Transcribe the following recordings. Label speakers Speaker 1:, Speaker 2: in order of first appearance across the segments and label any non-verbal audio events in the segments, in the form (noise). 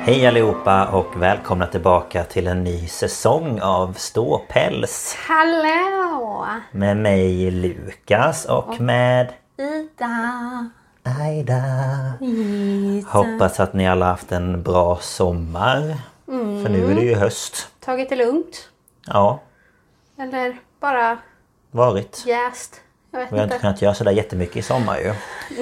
Speaker 1: Hej allihopa och välkomna tillbaka till en ny säsong av Ståpäls
Speaker 2: Hallå!
Speaker 1: med mig Lukas och med
Speaker 2: Ida!
Speaker 1: Aida. Hoppas att ni alla haft en bra sommar. För nu är det ju
Speaker 2: Mm.
Speaker 1: höst.
Speaker 2: Tagit det lugnt?
Speaker 1: Ja,
Speaker 2: Eller bara
Speaker 1: varit.
Speaker 2: jäst? Jag vet
Speaker 1: Vi har inte
Speaker 2: inte.
Speaker 1: kunnat göra sådär jättemycket i sommar ju.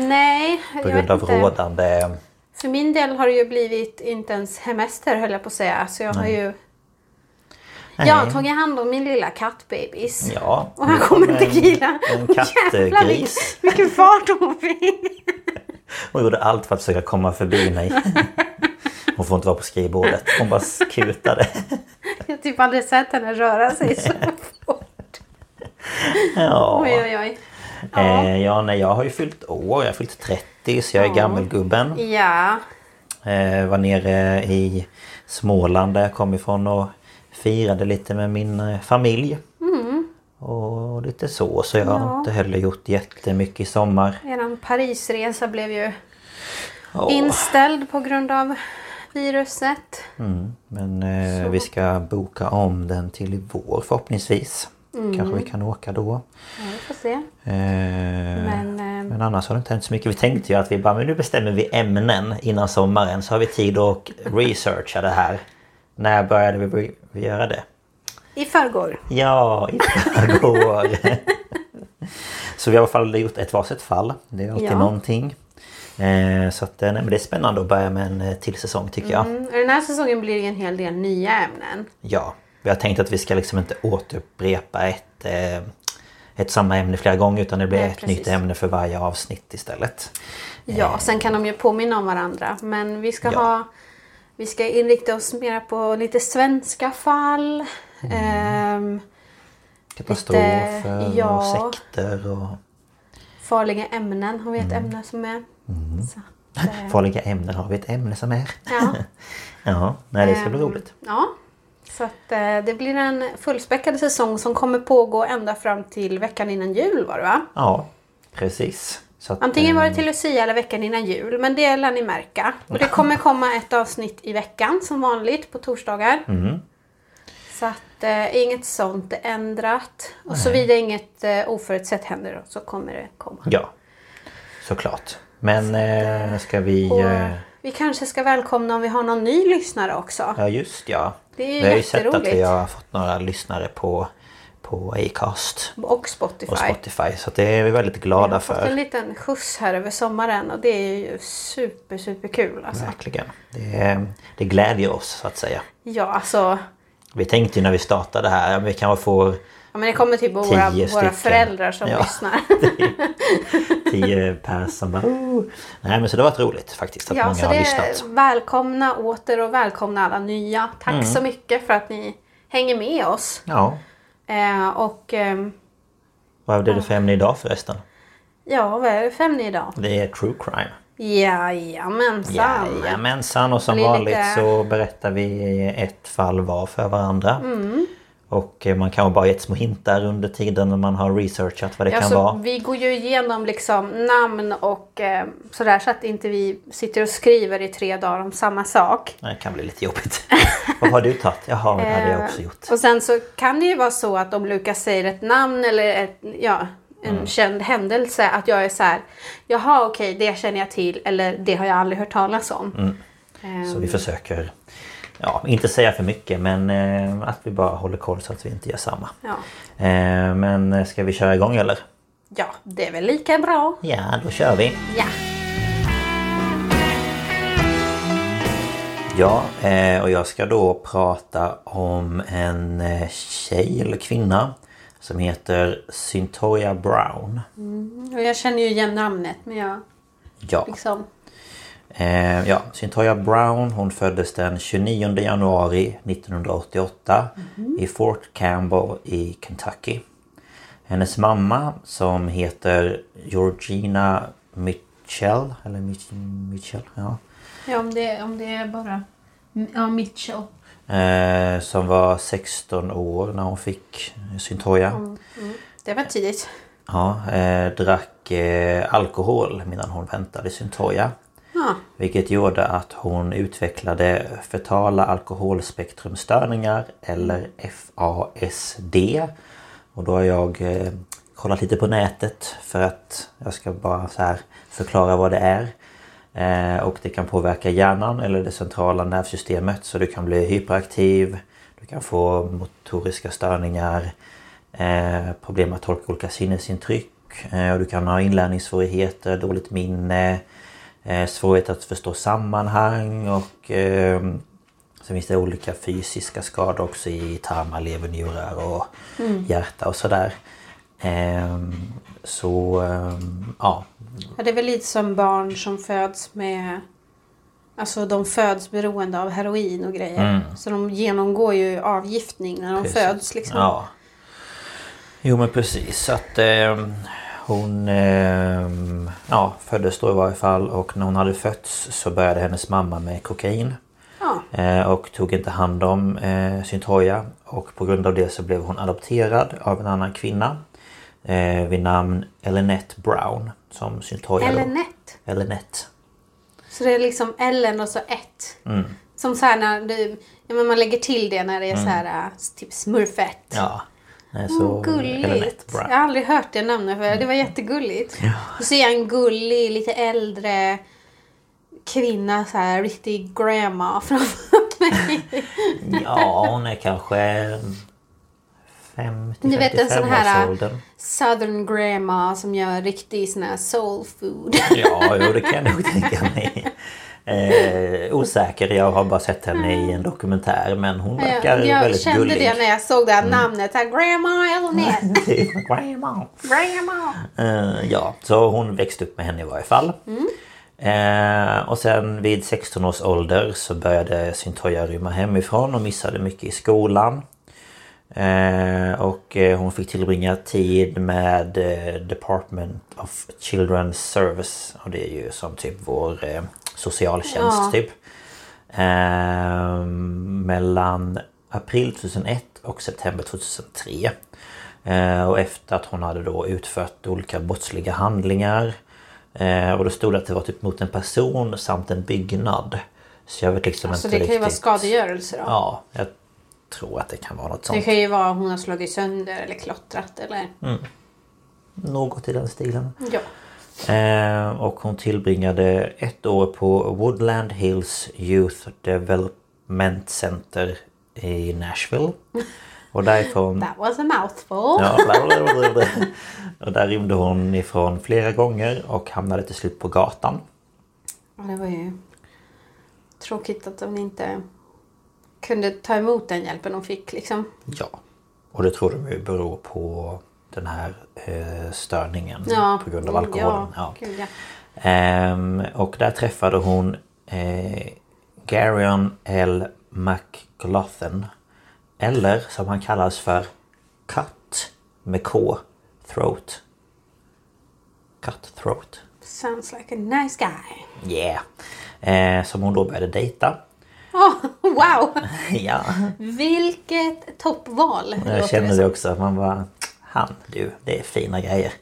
Speaker 2: Nej,
Speaker 1: På
Speaker 2: jag
Speaker 1: grund
Speaker 2: vet
Speaker 1: av
Speaker 2: inte.
Speaker 1: rådande...
Speaker 2: För min del har det ju blivit inte ens hemester höll jag på att säga. Så jag har ju... Jag har
Speaker 1: Nej.
Speaker 2: tagit hand om min lilla kattbebis.
Speaker 1: Ja.
Speaker 2: Och han
Speaker 1: nu
Speaker 2: kommer
Speaker 1: kom
Speaker 2: inte gila.
Speaker 1: En, en
Speaker 2: Jävlar, vilken,
Speaker 1: kattgris.
Speaker 2: vilken fart hon fick!
Speaker 1: Hon gjorde allt för att försöka komma förbi mig.
Speaker 2: (laughs)
Speaker 1: Hon får inte vara på skrivbordet. Hon bara skutade.
Speaker 2: Jag typ aldrig sett henne röra sig
Speaker 1: (laughs)
Speaker 2: så fort.
Speaker 1: Ja.
Speaker 2: Oj, oj, oj. Ja.
Speaker 1: Eh, ja, nej, jag har ju fyllt år. Jag har fyllt 30 så jag är gammelgubben.
Speaker 2: Ja.
Speaker 1: Eh, var nere i Småland där jag kom ifrån och firade lite med min eh, familj.
Speaker 2: Mm.
Speaker 1: Och lite så. Så jag har inte heller gjort jättemycket i sommar.
Speaker 2: Eran Parisresa blev ju
Speaker 1: Ja,
Speaker 2: inställd på grund av viruset.
Speaker 1: Mm. Men eh, vi ska boka om den till i vår förhoppningsvis.
Speaker 2: Mm.
Speaker 1: Kanske vi kan åka då.
Speaker 2: Ja, vi får se.
Speaker 1: Eh,
Speaker 2: Men, eh,
Speaker 1: Men annars har det inte hänt så mycket. Vi tänkte ju att vi bara, men nu bestämmer vi ämnen innan sommaren så har vi tid att researcha det här. När började vi, bry- vi göra det?
Speaker 2: I förrgår.
Speaker 1: Ja, i
Speaker 2: (laughs)
Speaker 1: förrgår! så vi har i alla fall gjort ett varsitt fall. Det är alltid
Speaker 2: Ja.
Speaker 1: någonting. Eh, så att, eh, nej, men det är spännande att börja med en eh, till säsong tycker jag.
Speaker 2: Mm, och Den här säsongen blir det en hel del nya ämnen.
Speaker 1: Ja, vi har tänkt att vi ska liksom inte återupprepa ett, eh, ett samma ämne flera gånger utan det blir
Speaker 2: Nej,
Speaker 1: ett
Speaker 2: precis.
Speaker 1: nytt ämne för varje avsnitt istället.
Speaker 2: Ja, sen kan de ju påminna om varandra. Men vi ska
Speaker 1: Eh. Ja.
Speaker 2: ha... Vi ska inrikta oss mer på lite svenska fall.
Speaker 1: Mm.
Speaker 2: ehm,
Speaker 1: Katastrofer
Speaker 2: ja.
Speaker 1: och sekter och
Speaker 2: farliga ämnen har vi ett ämne som är. Så, att, eh,
Speaker 1: Mm. farliga ämnen. Har vi ett ämne som är?
Speaker 2: ja.
Speaker 1: Ja, nej det ska bli
Speaker 2: Ehm,
Speaker 1: roligt.
Speaker 2: Ja. Så att eh, det blir en fullspäckad säsong som kommer pågå ända fram till veckan innan jul var det va?
Speaker 1: Ja, precis. Så att,
Speaker 2: Antingen
Speaker 1: eh,
Speaker 2: var det till Lucia eller veckan innan jul, men det lär ni märka. Och det kommer komma ett avsnitt i veckan som vanligt på torsdagar.
Speaker 1: Mm.
Speaker 2: Så att eh, inget sånt är ändrat. Och såvida inget eh, oförutsett händer då, så kommer det komma.
Speaker 1: eh, Ja, såklart. Men eh, ska vi...
Speaker 2: Och
Speaker 1: eh,
Speaker 2: vi kanske ska välkomna om vi har någon ny lyssnare också.
Speaker 1: Ja, just ja.
Speaker 2: Det är ju
Speaker 1: vi har ju sett att vi
Speaker 2: jätteroligt.
Speaker 1: har fått några lyssnare på, på Acast
Speaker 2: Och Spotify.
Speaker 1: och Spotify. Så att det är vi väldigt glada
Speaker 2: Vi har fått en
Speaker 1: för.
Speaker 2: liten skjuts här över sommaren och det är ju super, super kul alltså.
Speaker 1: Verkligen. Det, eh, det glädjer oss så att säga.
Speaker 2: Ja, alltså.
Speaker 1: Vi tänkte ju när vi startade här, ja, men vi kanske får
Speaker 2: Ja, men det kommer typ våra,
Speaker 1: Tio
Speaker 2: våra
Speaker 1: stycken.
Speaker 2: föräldrar som
Speaker 1: Ja. (laughs)
Speaker 2: lyssnar.
Speaker 1: Tio pers som bara... Oh. eh, Nej men så det har varit roligt faktiskt att
Speaker 2: Ja,
Speaker 1: många
Speaker 2: så
Speaker 1: har
Speaker 2: det
Speaker 1: lyssnat.
Speaker 2: är välkomna åter och välkomna alla nya. Tack
Speaker 1: Mm.
Speaker 2: så mycket för att ni hänger med oss.
Speaker 1: Ja.
Speaker 2: Eh, och ehm,
Speaker 1: Vad blev det för ämne idag förresten?
Speaker 2: ja, vad är det för ämne idag?
Speaker 1: Det är true crime.
Speaker 2: Jajamensan.
Speaker 1: Jajamensan och som
Speaker 2: Blir lite-
Speaker 1: vanligt så berättar vi ett fall var för varandra.
Speaker 2: Mm.
Speaker 1: Och eh, man kan ju bara ge ett små hintar under tiden när man har researchat vad det
Speaker 2: Ja,
Speaker 1: kan
Speaker 2: så
Speaker 1: vara.
Speaker 2: Vi går ju igenom liksom namn och eh, sådär så att inte vi sitter och skriver i tre dagar om samma sak.
Speaker 1: Det kan bli lite
Speaker 2: (laughs)
Speaker 1: jobbigt. vad har du tagit? Jaha, det
Speaker 2: Eh.
Speaker 1: hade jag också gjort.
Speaker 2: Och sen så kan det ju vara så att om Lukas säger ett namn eller ett, ja, en känd händelse att jag är så här, jaha okej det känner jag till eller det har jag aldrig hört talas om. Eh,
Speaker 1: Mm. Så vi försöker, ja, inte säga för mycket men eh, att vi bara håller koll så att vi inte gör samma.
Speaker 2: ja.
Speaker 1: Eh, men eh, ska vi köra igång eller?
Speaker 2: ja, det är väl lika bra.
Speaker 1: Ja, då kör vi!
Speaker 2: Ja.
Speaker 1: Ja, eh, och jag ska då prata om en eh, tjej eller kvinna som heter Cynthia Brown.
Speaker 2: Och jag känner ju igen namnet men jag
Speaker 1: Ja,
Speaker 2: liksom,
Speaker 1: eh, ja Cynthia Brown hon föddes den 29 januari 1988 i Fort Campbell i Kentucky. Hennes mamma som heter Georgina Mitchell, eller Mich- Mitchell, ja.
Speaker 2: ja om det, om det är bara, ja Mitchell.
Speaker 1: Eh, som var 16 år när hon fick Cynthia.
Speaker 2: Det var tidigt.
Speaker 1: Ja, eh, drack eh, alkohol medan hon väntade Syntoja.
Speaker 2: Ja.
Speaker 1: Vilket gjorde att hon utvecklade fetala alkoholspektrumstörningar eller FASD. Och då har jag eh, kollat lite på nätet för att jag ska bara så här förklara vad det är. Eh, och det kan påverka hjärnan eller det centrala nervsystemet så du kan bli hyperaktiv, du kan få motoriska störningar, eh, problem att tolka olika sinnesintryck eh, och du kan ha inlärningssvårigheter, dåligt minne, eh, svårighet att förstå sammanhang och eh, sen finns det olika fysiska skador också i tarmar, lever, njurar och
Speaker 2: Mm.
Speaker 1: hjärta och sådär. Eh, så eh, ja,
Speaker 2: Ja, det är väl lite som barn som föds med... Alltså de föds beroende av heroin och grejer. Så de genomgår ju avgiftning när de
Speaker 1: Mm. Precis.
Speaker 2: föds. Liksom.
Speaker 1: Ja. Jo men precis. Så att eh, hon eh, ja, föddes då i varje fall och när hon hade fötts så började hennes mamma med kokain.
Speaker 2: Ja.
Speaker 1: Eh, och tog inte hand om eh, Syntoja. Och på grund av det så blev hon adopterad av en annan kvinna. Eh, vid namn Elinette Brown. Som Syntoja då-
Speaker 2: Ellenette.
Speaker 1: Elinette.
Speaker 2: Så det är liksom Ellen och så ett.
Speaker 1: Mm.
Speaker 2: Som så här när du... Ja, men man lägger till det när det är så här äh, typ smurfett.
Speaker 1: Mm. Ja. Nej, så
Speaker 2: Åh, gulligt.
Speaker 1: Elinette
Speaker 2: Jag
Speaker 1: Brown.
Speaker 2: har aldrig hört det namnet förut. Det var
Speaker 1: Mm.
Speaker 2: jättegulligt. Och så är jag en gullig, lite äldre kvinna, så här riktig grandma framför mig.
Speaker 1: Ja, hon är kanske 50
Speaker 2: Ni vet en sån här
Speaker 1: åldern.
Speaker 2: Southern grandma som gör riktig sån här soul food.
Speaker 1: Ja, jo, det kan jag nog tänka mig. Eh, osäker, jag har bara sett henne i en dokumentär men hon verkar
Speaker 2: jag
Speaker 1: väldigt Mm.
Speaker 2: kände
Speaker 1: gullig.
Speaker 2: det när jag såg det här namnet. Här, grandma
Speaker 1: Mm.
Speaker 2: Elnett.
Speaker 1: (laughs) Grandma.
Speaker 2: grandma.
Speaker 1: Eh, ja, så hon växte upp med henne i varje fall. Eh, och sen vid 16 års ålder så började Syntoja rymma hemifrån och missade mycket i skolan. Eh, och eh, hon fick tillbringa tid med eh, Department of Children's Service. Och det är ju som typ vår eh, socialtjänst
Speaker 2: Ja.
Speaker 1: typ. Ehm, mellan april 2001 och september 2003. Eh, och efter att hon hade då utfört olika brottsliga handlingar. Eh, och då stod det att det var typ mot en person samt en byggnad. Så jag vet liksom inte
Speaker 2: Så Alltså, det kan ju vara
Speaker 1: riktigt-
Speaker 2: skadegörelse då.
Speaker 1: Ja, jag tror att det kan vara något
Speaker 2: Det
Speaker 1: sånt. Mm.
Speaker 2: kan ju vara hon har slagit sönder eller klottrat eller...
Speaker 1: Något i den stilen.
Speaker 2: Ja.
Speaker 1: Eh, och hon tillbringade ett år på Woodland Hills Youth Development Center i Nashville. Och därifrån...
Speaker 2: That was a mouthful.
Speaker 1: Ja, bla, bla, bla, bla. Och där rymde hon ifrån flera gånger och hamnade till slut på gatan.
Speaker 2: Ja, Det var ju
Speaker 1: Mm,
Speaker 2: tråkigt att de inte kunde ta emot den hjälpen de fick liksom.
Speaker 1: Ja. Och det tror de ju beror på den här eh, störningen
Speaker 2: Ja.
Speaker 1: på grund av
Speaker 2: Ja,
Speaker 1: alkoholen.
Speaker 2: gud, ja.
Speaker 1: Ehm, och där träffade hon eh, Garion L. McLaughlin. Eller som han kallas för Cut med K. Throat. Cutthroat.
Speaker 2: Sounds like a nice guy.
Speaker 1: Yeah. Eh, som hon då började dejta. (laughs)
Speaker 2: Åh, Oh, (laughs) wow!
Speaker 1: ja,
Speaker 2: Vilket toppval!
Speaker 1: jag
Speaker 2: låter
Speaker 1: känner
Speaker 2: som.
Speaker 1: det också. Man bara, han du, det är fina grejer.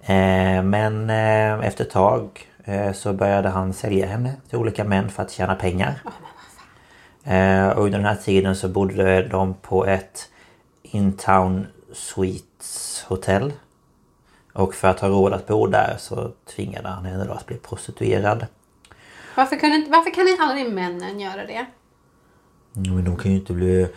Speaker 1: Eh, men eh, efter ett tag eh, så började han sälja henne till olika män för att tjäna pengar. Eh, och under den här tiden så bodde de på ett Intown Suites hotell. Och för att ha råd att bo där så tvingade han henne då att bli prostituerad.
Speaker 2: Varför, kunde, inte- varför kan inte aldrig männen göra det?
Speaker 1: Ja, Men de kan ju inte bli eh,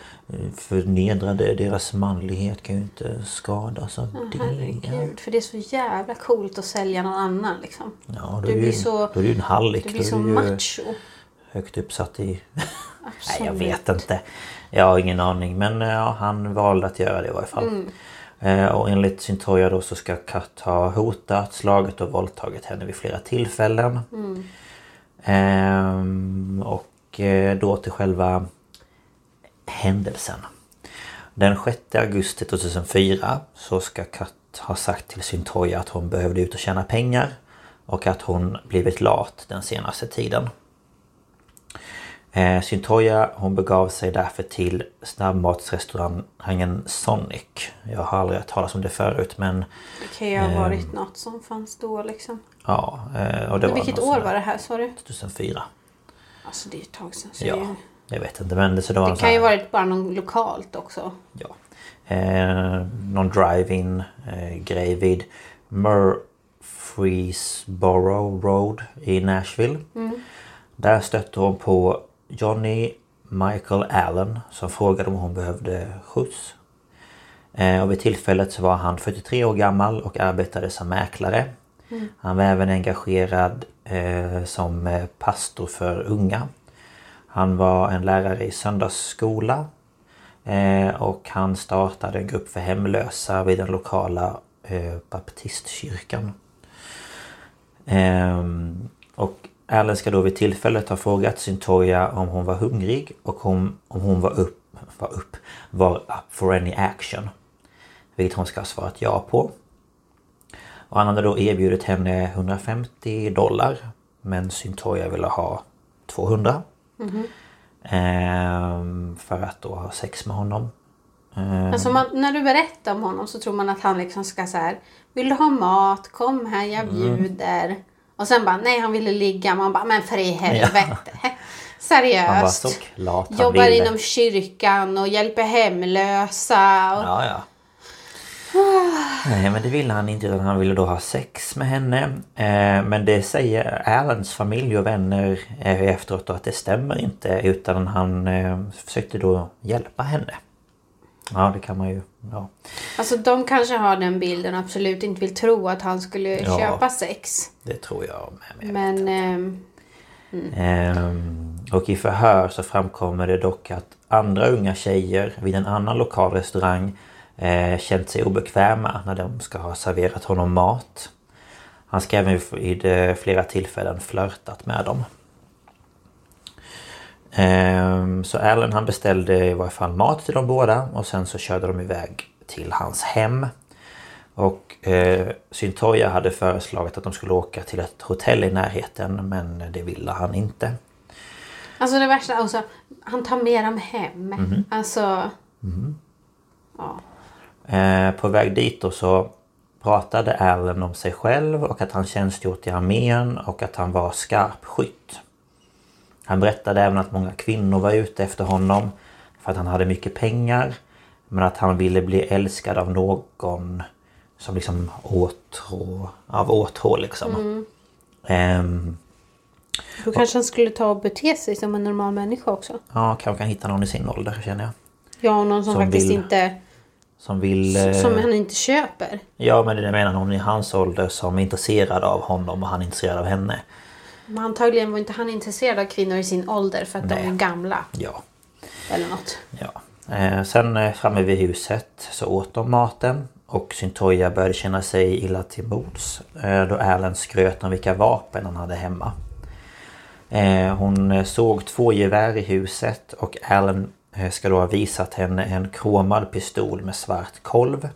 Speaker 1: förnedrade. Deras manlighet kan ju inte skadas av det.
Speaker 2: Herregud, för det är så jävla coolt att sälja någon annan liksom.
Speaker 1: Ja, då
Speaker 2: Du
Speaker 1: är
Speaker 2: blir
Speaker 1: ju,
Speaker 2: så-
Speaker 1: då är du en hallick.
Speaker 2: Du
Speaker 1: Då
Speaker 2: blir
Speaker 1: är
Speaker 2: så
Speaker 1: du ju
Speaker 2: macho.
Speaker 1: högt uppsatt i... Nej, jag
Speaker 2: Absolut.
Speaker 1: vet inte. Jag har ingen aning. Men eh, ja, han valde att göra det i varje fall. Eh, Och enligt Syntoja då så ska Kat ha hotat, slagit och våldtagit henne vid flera tillfällen. Ehm, och eh, då till själva händelsen. Den 6 augusti 2004 så ska Kat ha sagt till Syntoja att hon behövde ut och tjäna pengar och att hon blivit lat den senaste tiden. Eh, Syntoja hon begav sig därför till snabbmatsrestaurangen Sonic. Jag har aldrig hört talas om det förut men
Speaker 2: Det kan ju
Speaker 1: Ehm.
Speaker 2: ha varit något som fanns då liksom.
Speaker 1: ja. eh, Och det var
Speaker 2: Vilket
Speaker 1: någon sån
Speaker 2: år
Speaker 1: här
Speaker 2: var det här sa du?
Speaker 1: 2004.
Speaker 2: Alltså det är ju ett tag sedan. Så
Speaker 1: Ja,
Speaker 2: det, är ju-
Speaker 1: jag vet inte men det, så det var någon
Speaker 2: det
Speaker 1: sån
Speaker 2: kan ju
Speaker 1: här-
Speaker 2: varit bara någon lokalt också.
Speaker 1: Ja. Eh, någon drive-in eh, grej vid Murfreesboro Road i Nashville.
Speaker 2: Mm.
Speaker 1: Där stötte hon på Johnny Michael Allen som frågade om hon behövde skjuts. Eh, och vid tillfället så var han 43 år gammal och arbetade som mäklare. Han var även engagerad eh, som eh, pastor för unga. Han var en lärare i söndagsskola Eh, och han startade en grupp för hemlösa vid den lokala eh, baptistkyrkan. Ehm, och Allen ska då vid tillfället ha frågat Syntoja om hon var hungrig och om, om hon var upp, var upp, var up for any action. Vilket hon ska ha svarat ja på. Och han hade då erbjudit henne 150 dollar. Men Syntoja ville ha 200.
Speaker 2: Mhm.
Speaker 1: Ehm, för att då ha sex med honom.
Speaker 2: Alltså man, när du berättar om honom så tror man att han liksom ska så här. Vill du ha mat? Kom här,
Speaker 1: Mm.
Speaker 2: jag bjuder. Och sen bara, nej han ville ligga. Man bara, men för i helvete.
Speaker 1: (laughs)
Speaker 2: Seriöst.
Speaker 1: Han var såklart han
Speaker 2: Jobbar
Speaker 1: ville.
Speaker 2: inom kyrkan och hjälper hemlösa. Och,
Speaker 1: Ja, ja. Nej, men det ville han inte utan han ville då ha sex med henne. Eh, men det säger Alans familj och vänner eh, efteråt då att det stämmer inte utan han eh, försökte då hjälpa henne. Ja, det kan man ju. Ja.
Speaker 2: Alltså de kanske har den bilden och absolut inte vill tro att han skulle
Speaker 1: Ja.
Speaker 2: köpa sex.
Speaker 1: Det tror jag med. med.
Speaker 2: Men ehm,
Speaker 1: Ehm, och i förhör så framkommer det dock att andra unga tjejer vid en annan lokal restaurang eh, känt sig obekväma när de ska ha serverat honom mat. Han ska även vid eh, flera tillfällen flörtat med dem. Ehm, så Allen han beställde i varje fall mat till de båda och sen så körde de iväg till hans hem. Och eh, Syntoja hade föreslagit att de skulle åka till ett hotell i närheten men det ville han inte.
Speaker 2: alltså det värsta, alltså, han tar med dem hem.
Speaker 1: Mhm.
Speaker 2: Alltså, ja.
Speaker 1: Eh, på väg dit då så pratade Allen om sig själv och att han tjänstgjort i armén och att han var skarp skytt. Han berättade även att många kvinnor var ute efter honom för att han hade mycket pengar. Men att han ville bli älskad av någon som liksom åtrå, av åtrå liksom. Ehm,
Speaker 2: Då kanske han skulle ta och bete sig som en normal människa också.
Speaker 1: ja, kanske kan hitta någon i sin ålder känner jag.
Speaker 2: Ja, och någon som,
Speaker 1: Som
Speaker 2: faktiskt
Speaker 1: vill-
Speaker 2: inte,
Speaker 1: Som vill... eh,
Speaker 2: som han inte köper.
Speaker 1: Ja men det menar någon i hans ålder som är intresserad av honom och han är intresserad av henne.
Speaker 2: Men antagligen var inte han intresserad av kvinnor i sin ålder för att de är gamla
Speaker 1: Ja.
Speaker 2: eller något.
Speaker 1: Ja. Eh, sen eh, framme vid huset så åt de maten och Syntoja började känna sig illa till bords eh, då Alan skröt om vilka vapen han hade hemma. Eh, hon eh, såg två gevär i huset och Alan eh, ska då ha visat henne en kromad pistol med svart kolv.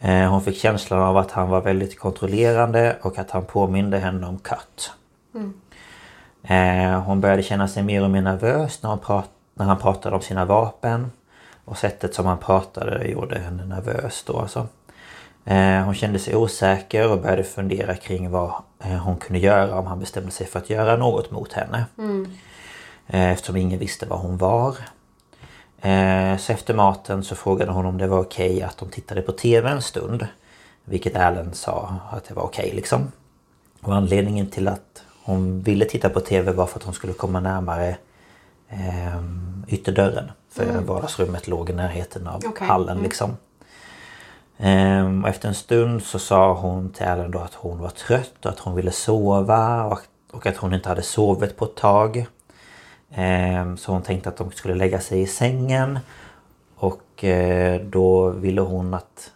Speaker 1: Eh, hon fick känslan av att han var väldigt kontrollerande och att han påminde henne om Cut. Eh, hon började känna sig mer och mer nervös när, hon prat- när han pratade om sina vapen. Och sättet som han pratade gjorde henne nervös då alltså. Eh, hon kände sig osäker och började fundera kring vad eh, hon kunde göra om han bestämde sig för att göra något mot henne. Eh, eftersom ingen visste var hon var. Eh, så efter maten så frågade hon om det var okej att de tittade på TV en stund. Vilket Allen sa att det var okej liksom. Och anledningen till att hon ville titta på TV var för att hon skulle komma närmare eh, ytterdörren. För vardagsrummet låg i närheten av
Speaker 2: Okej,
Speaker 1: hallen liksom. Ehm, och efter en stund så sa hon till Ellen då att hon var trött och att hon ville sova och, och att hon inte hade sovit på ett tag. Ehm, så hon tänkte att de skulle lägga sig i sängen. Och eh, då ville hon att,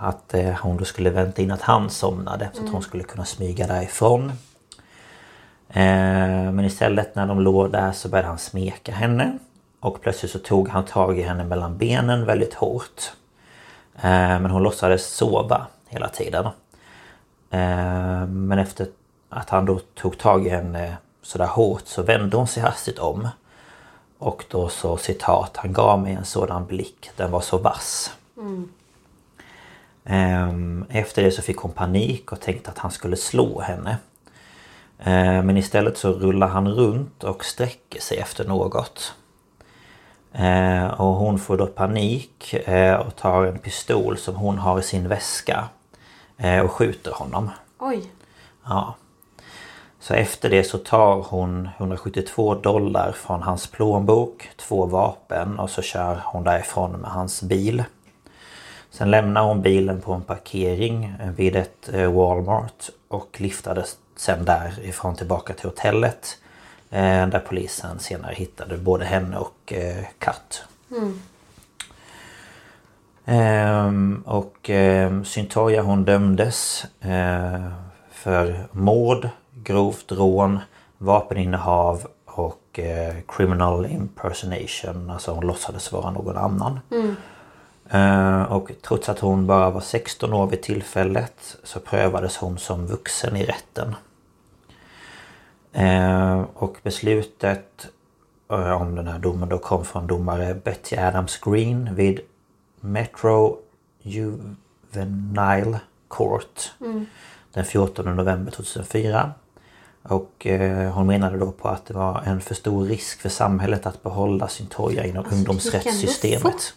Speaker 1: att eh, hon då skulle vänta in att han somnade så att hon skulle kunna smyga därifrån. Eh, Men istället när de låg där så började han smeka henne. Och plötsligt så tog han tag i henne mellan benen väldigt hårt. Eh, Men hon låtsades sova hela tiden. Eh, Men efter att han då tog tag i henne sådär hårt så vände hon sig hastigt om. Och då så citat, han gav mig en sådan blick, den var så vass. Ehm, Efter det så fick hon panik och tänkte att han skulle slå henne. Eh, Men istället så rullar han runt och sträcker sig efter något. Eh, Och hon får då panik eh, och tar en pistol som hon har i sin väska. eh, Och skjuter honom.
Speaker 2: Oj.
Speaker 1: Ja. Så efter det så tar hon 172 dollar från hans plånbok, två vapen och så kör hon därifrån med hans bil. Sen lämnar hon bilen på en parkering eh, vid ett eh, Walmart och liftades sen därifrån tillbaka till hotellet. eh, Där polisen senare hittade både henne och eh, Kat. Ehm, och eh, Syntoja hon dömdes eh, för mord, grovt rån, vapeninnehav och eh, criminal impersonation. Alltså hon låtsades vara någon annan. Eh, och trots att hon bara var 16 år vid tillfället så prövades hon som vuxen i rätten. Eh, och beslutet eh, om den här domen då kom från domare Betty Adams Green vid Metro Juvenile Court den 14 november 2004. Och eh, hon menade då på att det var en för stor risk för samhället att behålla Syntoja inom
Speaker 2: Alltså, det gick ändå
Speaker 1: ungdomsrättssystemet.
Speaker 2: fort.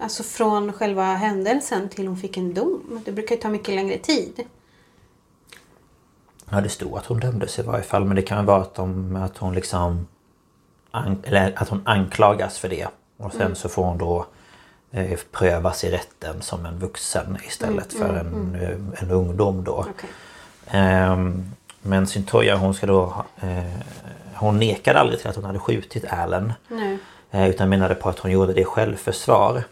Speaker 2: Alltså från själva händelsen till hon fick en dom. Det brukar ju ta mycket längre tid.
Speaker 1: Ja, det stod att hon dömdes i varje fall. Men det kan ju vara att, de, att hon liksom... An, eller att hon anklagas för det. Och sen så får hon då eh, prövas i rätten som en vuxen istället för en, eh, en ungdom då.
Speaker 2: Okej.
Speaker 1: Ehm, men Syntoja hon ska då... ha- Eh, hon nekade aldrig till att hon hade skjutit Allen.
Speaker 2: Nej.
Speaker 1: Eh, Utan menade på att hon gjorde det i självförsvar.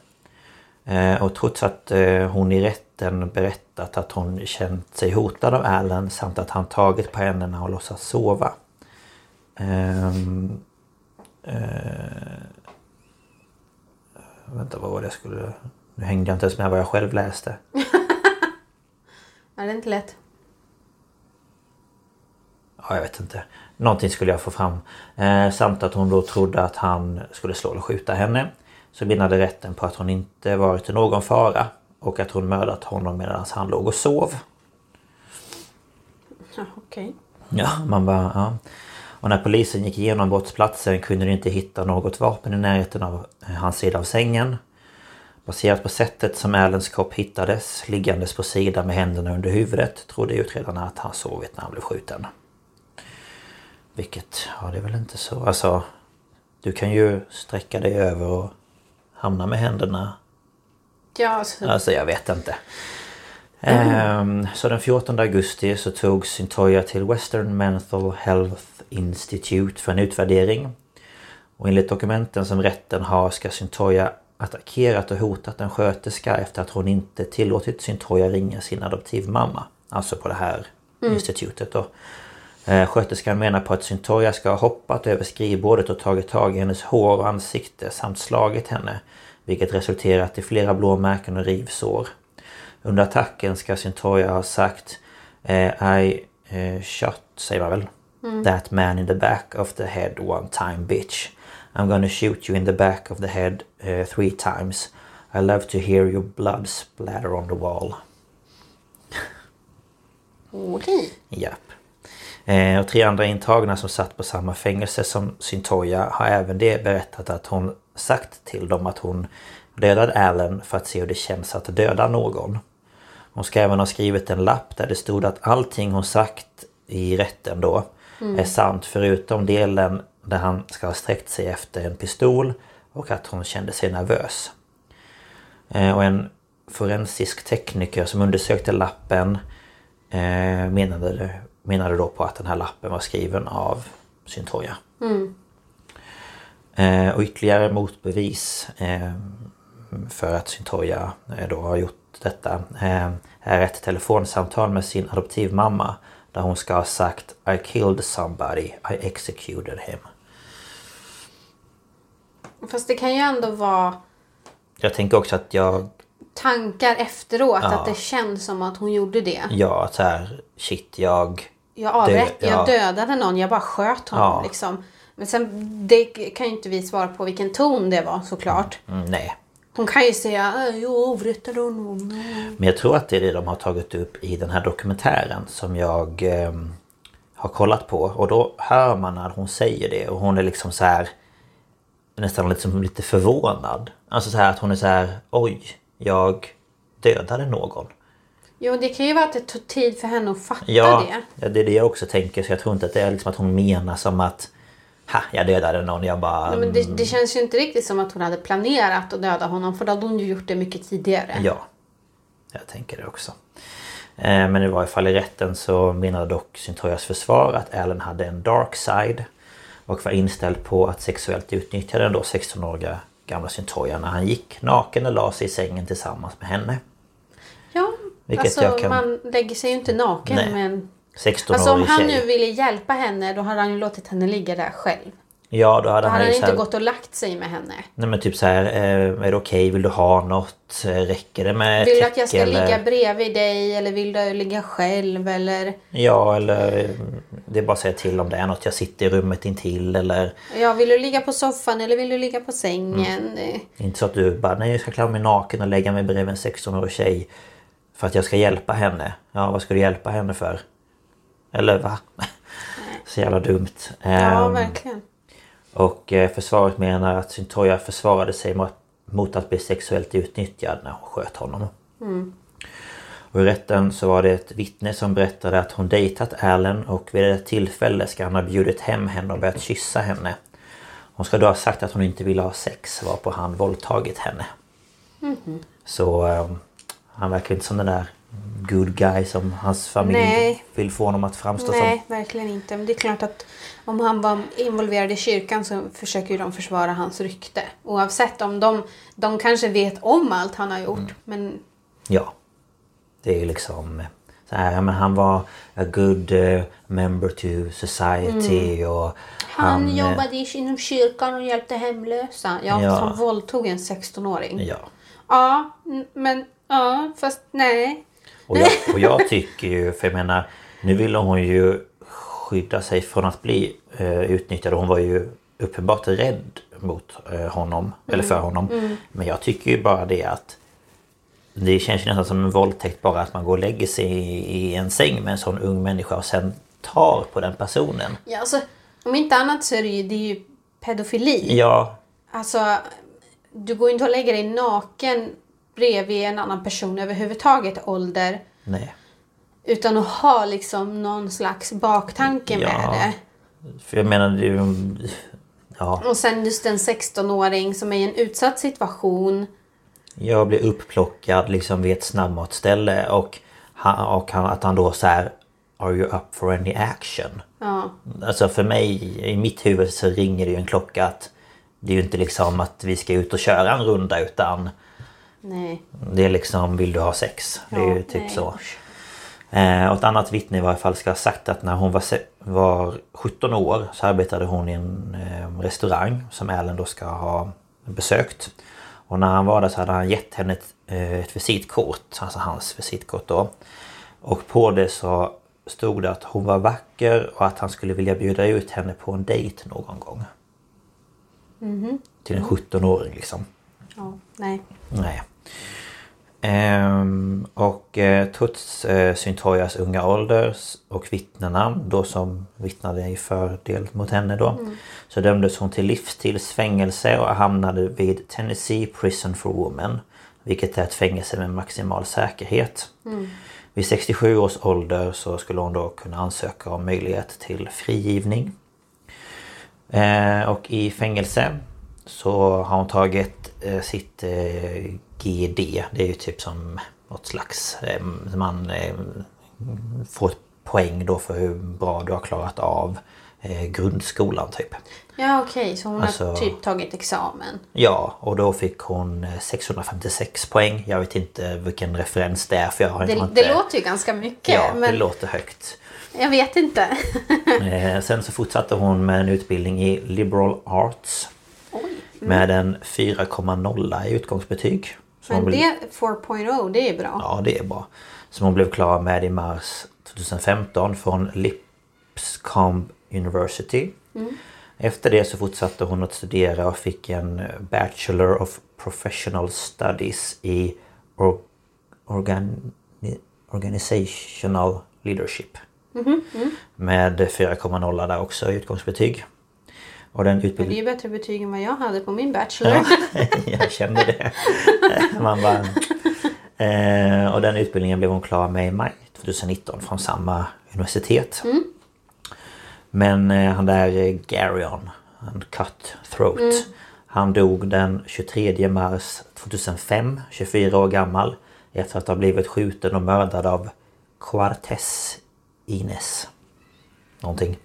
Speaker 1: Eh, Och trots att eh, hon i rätten berättat att hon känt sig hotad av Allen samt att han tagit på henne när hon låtsas sova. Ehm, eh, vänta vad var det jag skulle... Nu hängde jag inte ens med vad jag själv läste.
Speaker 2: Ja, det är inte lätt.
Speaker 1: Ja, jag vet inte. Någonting skulle jag få fram. Eh, samt att hon då trodde att han skulle slå eller skjuta henne. Så menade rätten på att hon inte varit i någon fara. Och att hon mördat honom medan han låg och sov.
Speaker 2: Ja, Okej.
Speaker 1: Ja, man bara, ja. Och när polisen gick igenom brottsplatsen kunde de inte hitta något vapen i närheten av eh, hans sida av sängen. Baserat på sättet som Alens kropp hittades, liggandes på sidan med händerna under huvudet, trodde utredarna att han sovit när han blev skjuten. Vilket, ja det är väl inte så. Alltså, du kan ju sträcka dig över och hamna med händerna
Speaker 2: Ja, alltså,
Speaker 1: Alltså jag vet inte. Ehm, så den 14 augusti så tog Syntoja till Western Mental Health Institute för en utvärdering. Och enligt dokumenten som rätten har ska Syntoja attackerat och hotat en sköterska efter att hon inte tillåtit Syntoja ringa sin adoptivmamma. Alltså på det här institutet då. Eh, Sköterskan menar på att Syntoja ska ha hoppat över skrivbordet och tagit tag i hennes hår och ansikte samt slagit henne. Vilket resulterat i flera blåmärken och rivsår. Under attacken ska Syntoja ha sagt eh, I eh, shot, säger man väl? That man in the back of the head one time bitch. I'm gonna shoot you in the back of the head eh, three times. I love to hear your blood splatter on the wall.
Speaker 2: Okej.
Speaker 1: Japp. Eh, och tre andra intagna som satt på samma fängelse som Syntoja har även det berättat att hon sagt till dem att hon dödade Allen för att se hur det känns att döda någon. Hon ska även ha skrivit en lapp där det stod att allting hon sagt i rätten då är sant förutom delen där han ska ha sträckt sig efter en pistol och att hon kände sig nervös. Eh, Och en forensisk tekniker som undersökte lappen eh, menade, menade då på att den här lappen var skriven av Syntoja. Eh, Och ytterligare motbevis eh, för att Syntoja eh, då har gjort detta eh, är ett telefonsamtal med sin adoptivmamma där hon ska ha sagt I killed somebody, I executed him.
Speaker 2: Fast det kan ju ändå vara
Speaker 1: Jag tänker också att jag
Speaker 2: tankar efteråt. Att det känns som att hon gjorde det.
Speaker 1: Ja, att så här, shit, jag...
Speaker 2: Jag avrätt,
Speaker 1: Det- ja.
Speaker 2: jag dödade någon, jag bara sköt honom
Speaker 1: Ja.
Speaker 2: liksom. Men sen, det kan ju inte vi svara på vilken ton det var såklart.
Speaker 1: Mm, nej.
Speaker 2: Hon kan ju säga "Äh, jag avrättade honom.
Speaker 1: Men jag tror att det är det de har tagit upp i den här dokumentären som jag ehm, har kollat på. Och då hör man när hon säger det och hon är liksom så här... Nästan liksom lite förvånad. Alltså så här att hon är så här, oj, jag dödade någon.
Speaker 2: Jo, det kan ju vara att det tog tid för henne att fatta
Speaker 1: Ja,
Speaker 2: det.
Speaker 1: ja, det är det jag också tänker. Så jag tror inte att det är liksom att hon menar som att... Ha, jag dödade någon. Jag bara...
Speaker 2: Men det, det känns ju inte riktigt som att hon hade planerat att döda honom för då hade hon ju gjort det mycket tidigare.
Speaker 1: Ja, jag tänker det också. Eh, Men i varje fall i rätten så menade dock Syntojas försvar att Allen hade en dark side och var inställd på att sexuellt utnyttja den då 16-åriga gamla Syntoja när han gick naken och la sig i sängen tillsammans med henne.
Speaker 2: Ja,
Speaker 1: Vilket
Speaker 2: alltså
Speaker 1: jag kan-
Speaker 2: man lägger sig ju inte naken
Speaker 1: Nej.
Speaker 2: men...
Speaker 1: 16-årig
Speaker 2: Alltså om han
Speaker 1: tjej.
Speaker 2: nu ville hjälpa henne då hade han ju låtit henne ligga där själv.
Speaker 1: Ja, då hade
Speaker 2: Då
Speaker 1: han,
Speaker 2: hade
Speaker 1: ju
Speaker 2: han
Speaker 1: så
Speaker 2: inte
Speaker 1: här,
Speaker 2: gått och lagt sig med henne.
Speaker 1: Nej men typ så här, eh, är det okej? Vill du ha något? Eh, Räcker det med ett
Speaker 2: Vill du att jag ska
Speaker 1: täcke eller-
Speaker 2: ligga bredvid dig eller vill du ligga själv eller
Speaker 1: Ja, eller eh, det är bara att säga till om det är något. Jag sitter i rummet intill eller
Speaker 2: ja, vill du ligga på soffan eller vill du ligga på sängen?
Speaker 1: Mm.
Speaker 2: Eh,
Speaker 1: Inte så att du bara, nej jag ska klä av mig naken och lägga mig bredvid en 16-årig tjej för att jag ska hjälpa henne. Ja, vad ska du hjälpa henne för? Eller va? (laughs) Så jävla dumt.
Speaker 2: Ja,
Speaker 1: Ehm,
Speaker 2: verkligen.
Speaker 1: och eh, försvaret menar att Syntoja försvarade sig mot, mot att bli sexuellt utnyttjad när hon sköt honom.
Speaker 2: Mm.
Speaker 1: Och i rätten så var det ett vittne som berättade att hon dejtat Allen och vid ett tillfälle ska han ha bjudit hem henne och börjat kyssa henne. Hon ska då ha sagt att hon inte ville ha sex varpå han våldtagit henne.
Speaker 2: Mhm.
Speaker 1: Så eh, han verkar inte som den där good guy som hans familj
Speaker 2: Nej.
Speaker 1: vill få honom att framstå som.
Speaker 2: Nej, verkligen inte. Men det är klart att om han var involverad i kyrkan så försöker ju de försvara hans rykte. Oavsett om de, de kanske vet om allt han har
Speaker 1: Mm.
Speaker 2: gjort. Men
Speaker 1: Ja. Det är ju liksom eh, så här, ja, men han var a good eh, member to society och
Speaker 2: han,
Speaker 1: eh,
Speaker 2: jobbade i- inom kyrkan och hjälpte hemlösa. Ja,
Speaker 1: Ja.
Speaker 2: som våldtog en 16-åring.
Speaker 1: Ja.
Speaker 2: Ja, n- men ja, fast nej.
Speaker 1: Och jag, och jag tycker ju, för jag menar, nu ville hon ju skydda sig från att bli eh, utnyttjad. Hon var ju uppenbart rädd mot eh, honom, eller för honom. Men jag tycker ju bara det att det känns ju nästan som en våldtäkt bara att man går och lägger sig i, i en säng med en sån ung människa och sen tar på den personen.
Speaker 2: Ja, alltså, om inte annat så är det ju, det är ju pedofili.
Speaker 1: Ja,
Speaker 2: Alltså, du går ju inte och lägger dig naken bredvid en annan person överhuvudtaget ålder
Speaker 1: nej.
Speaker 2: utan att ha liksom någon slags baktanke
Speaker 1: Ja.
Speaker 2: med det.
Speaker 1: För jag menar, det är ju... Ja,
Speaker 2: Och sen just en 16-åring som är i en utsatt situation.
Speaker 1: jag blir upplockad liksom vid ett snabbmatsställe och, han, och han, att han då så här Are you up for any action?
Speaker 2: Ja,
Speaker 1: Alltså för mig, i mitt huvud så ringer det ju en klocka att Det är ju inte liksom att vi ska ut och köra en runda utan
Speaker 2: Nej.
Speaker 1: det är liksom vill du ha sex? Det är
Speaker 2: Ja,
Speaker 1: ju typ
Speaker 2: nej.
Speaker 1: så. Eh, och ett annat vittne i varje fall ska ha sagt att när hon var, se- var 17 år så arbetade hon i en eh, restaurang som Allen då ska ha besökt. Och när han var där så hade han gett henne ett, eh, ett visitkort, alltså hans visitkort då. Och på det så stod det att hon var vacker och att han skulle vilja bjuda ut henne på en dejt någon gång. Till en 17-åring liksom.
Speaker 2: Ja, nej.
Speaker 1: Nej. Ehm, och eh, trots eh, Syntojas unga ålder s- och vittnena då som vittnade i fördel mot henne då så dömdes hon till livstidsfängelse och hamnade vid Tennessee Prison for Women vilket är ett fängelse med maximal säkerhet. Vid 67 års ålder så skulle hon då kunna ansöka om möjlighet till frigivning. Eh, och i fängelse så har hon tagit eh, sitt eh, GD. Det är ju typ som något slags... Eh, man eh, får ett poäng då för hur bra du har klarat av eh, grundskolan typ.
Speaker 2: Ja okej, så hon
Speaker 1: Alltså-
Speaker 2: har typ tagit examen.
Speaker 1: Ja, och då fick hon eh, 656 poäng. Jag vet inte vilken referens det är för jag har liksom
Speaker 2: Det,
Speaker 1: inte...
Speaker 2: det låter ju ganska mycket.
Speaker 1: Ja,
Speaker 2: men
Speaker 1: det låter högt.
Speaker 2: Jag vet inte.
Speaker 1: Eh, sen så fortsatte hon med en utbildning i liberal arts.
Speaker 2: Oj. Mm.
Speaker 1: Med en 4,0 i utgångsbetyg. Så hon
Speaker 2: Men
Speaker 1: blev-
Speaker 2: det 4.0, det är bra.
Speaker 1: Ja, det är bra. Som hon blev klar med i mars 2015 från Lipscomb University. Efter det så fortsatte hon att studera och fick en Bachelor of Professional Studies i or- organ- Organizational Leadership. Med 4,0 där också i utgångsbetyg. Och den
Speaker 2: Men det är
Speaker 1: utbildningen...
Speaker 2: ju bättre betyg än vad jag hade på min bachelor. (laughs)
Speaker 1: Jag kände det. Man bara... Eh, och den utbildningen blev hon klar med i maj 2019 från samma universitet.
Speaker 2: Mm.
Speaker 1: Men eh, han där eh, Garyon, han cutthroat.
Speaker 2: Mm.
Speaker 1: Han dog den 23 mars 2005, 24 år gammal. Efter att ha blivit skjuten och mördad av Quartes Ines. Någonting.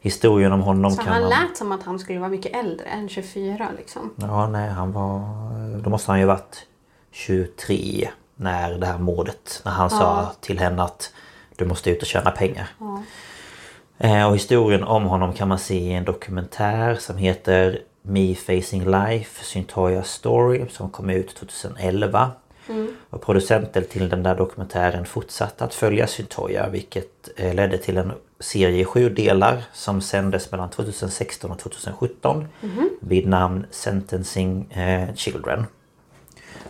Speaker 1: Historien om honom
Speaker 2: så
Speaker 1: kan
Speaker 2: han
Speaker 1: man...
Speaker 2: lät som att han skulle vara mycket äldre än 24 liksom.
Speaker 1: Ja, nej, han var... Då måste han ju varit 23 när det här mordet, när han sa till henne att du måste ut och tjäna pengar. Eh, Och historien om honom kan man se i en dokumentär som heter Me Facing Life, Syntoya Story som kom ut 2011. Och producenten till den där dokumentären fortsatte att följa Syntoya vilket eh, ledde till en serie i sju delar som sändes mellan 2016 och 2017 vid namn Sentencing eh, Children.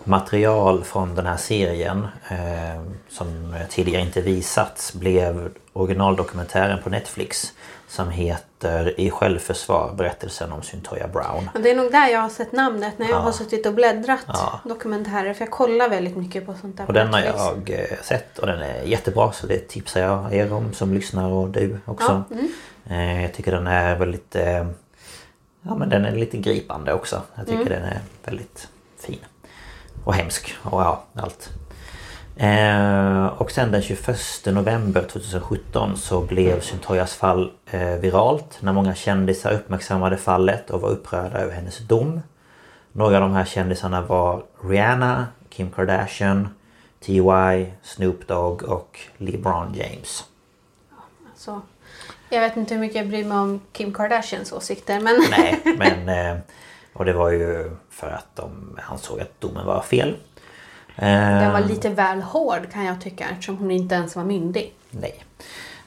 Speaker 1: Material från den här serien eh, som tidigare inte visats blev originaldokumentären på Netflix som heter I självförsvar berättelsen om Syntoya Brown.
Speaker 2: Men det är nog där jag har sett namnet när jag har suttit och bläddrat
Speaker 1: Ja.
Speaker 2: dokumentärer. För jag kollar väldigt mycket på sånt där
Speaker 1: Och
Speaker 2: på
Speaker 1: den har
Speaker 2: Netflix.
Speaker 1: jag eh, sett och den är jättebra så det tipsar jag er om som lyssnar och du också. Eh, Jag tycker den är väldigt... eh, Ja men den är lite gripande också. Jag tycker den är väldigt fin. Och hemsk och ja, allt. Eh, och sen den 21 november 2017 så blev Syntoyas fall eh, viralt när många kändisar uppmärksammade fallet och var upprörda över hennes dom. Några av de här kändisarna var Rihanna, Kim Kardashian, T.Y, Snoop Dogg och LeBron James.
Speaker 2: Så, jag vet inte hur mycket jag bryr mig om Kim Kardashians åsikter. Men (laughs)
Speaker 1: Nej, men... eh, Och det var ju för att de ansåg att domen var fel. Eh,
Speaker 2: den var lite väl hård kan jag tycka eftersom hon inte ens var myndig.
Speaker 1: Nej.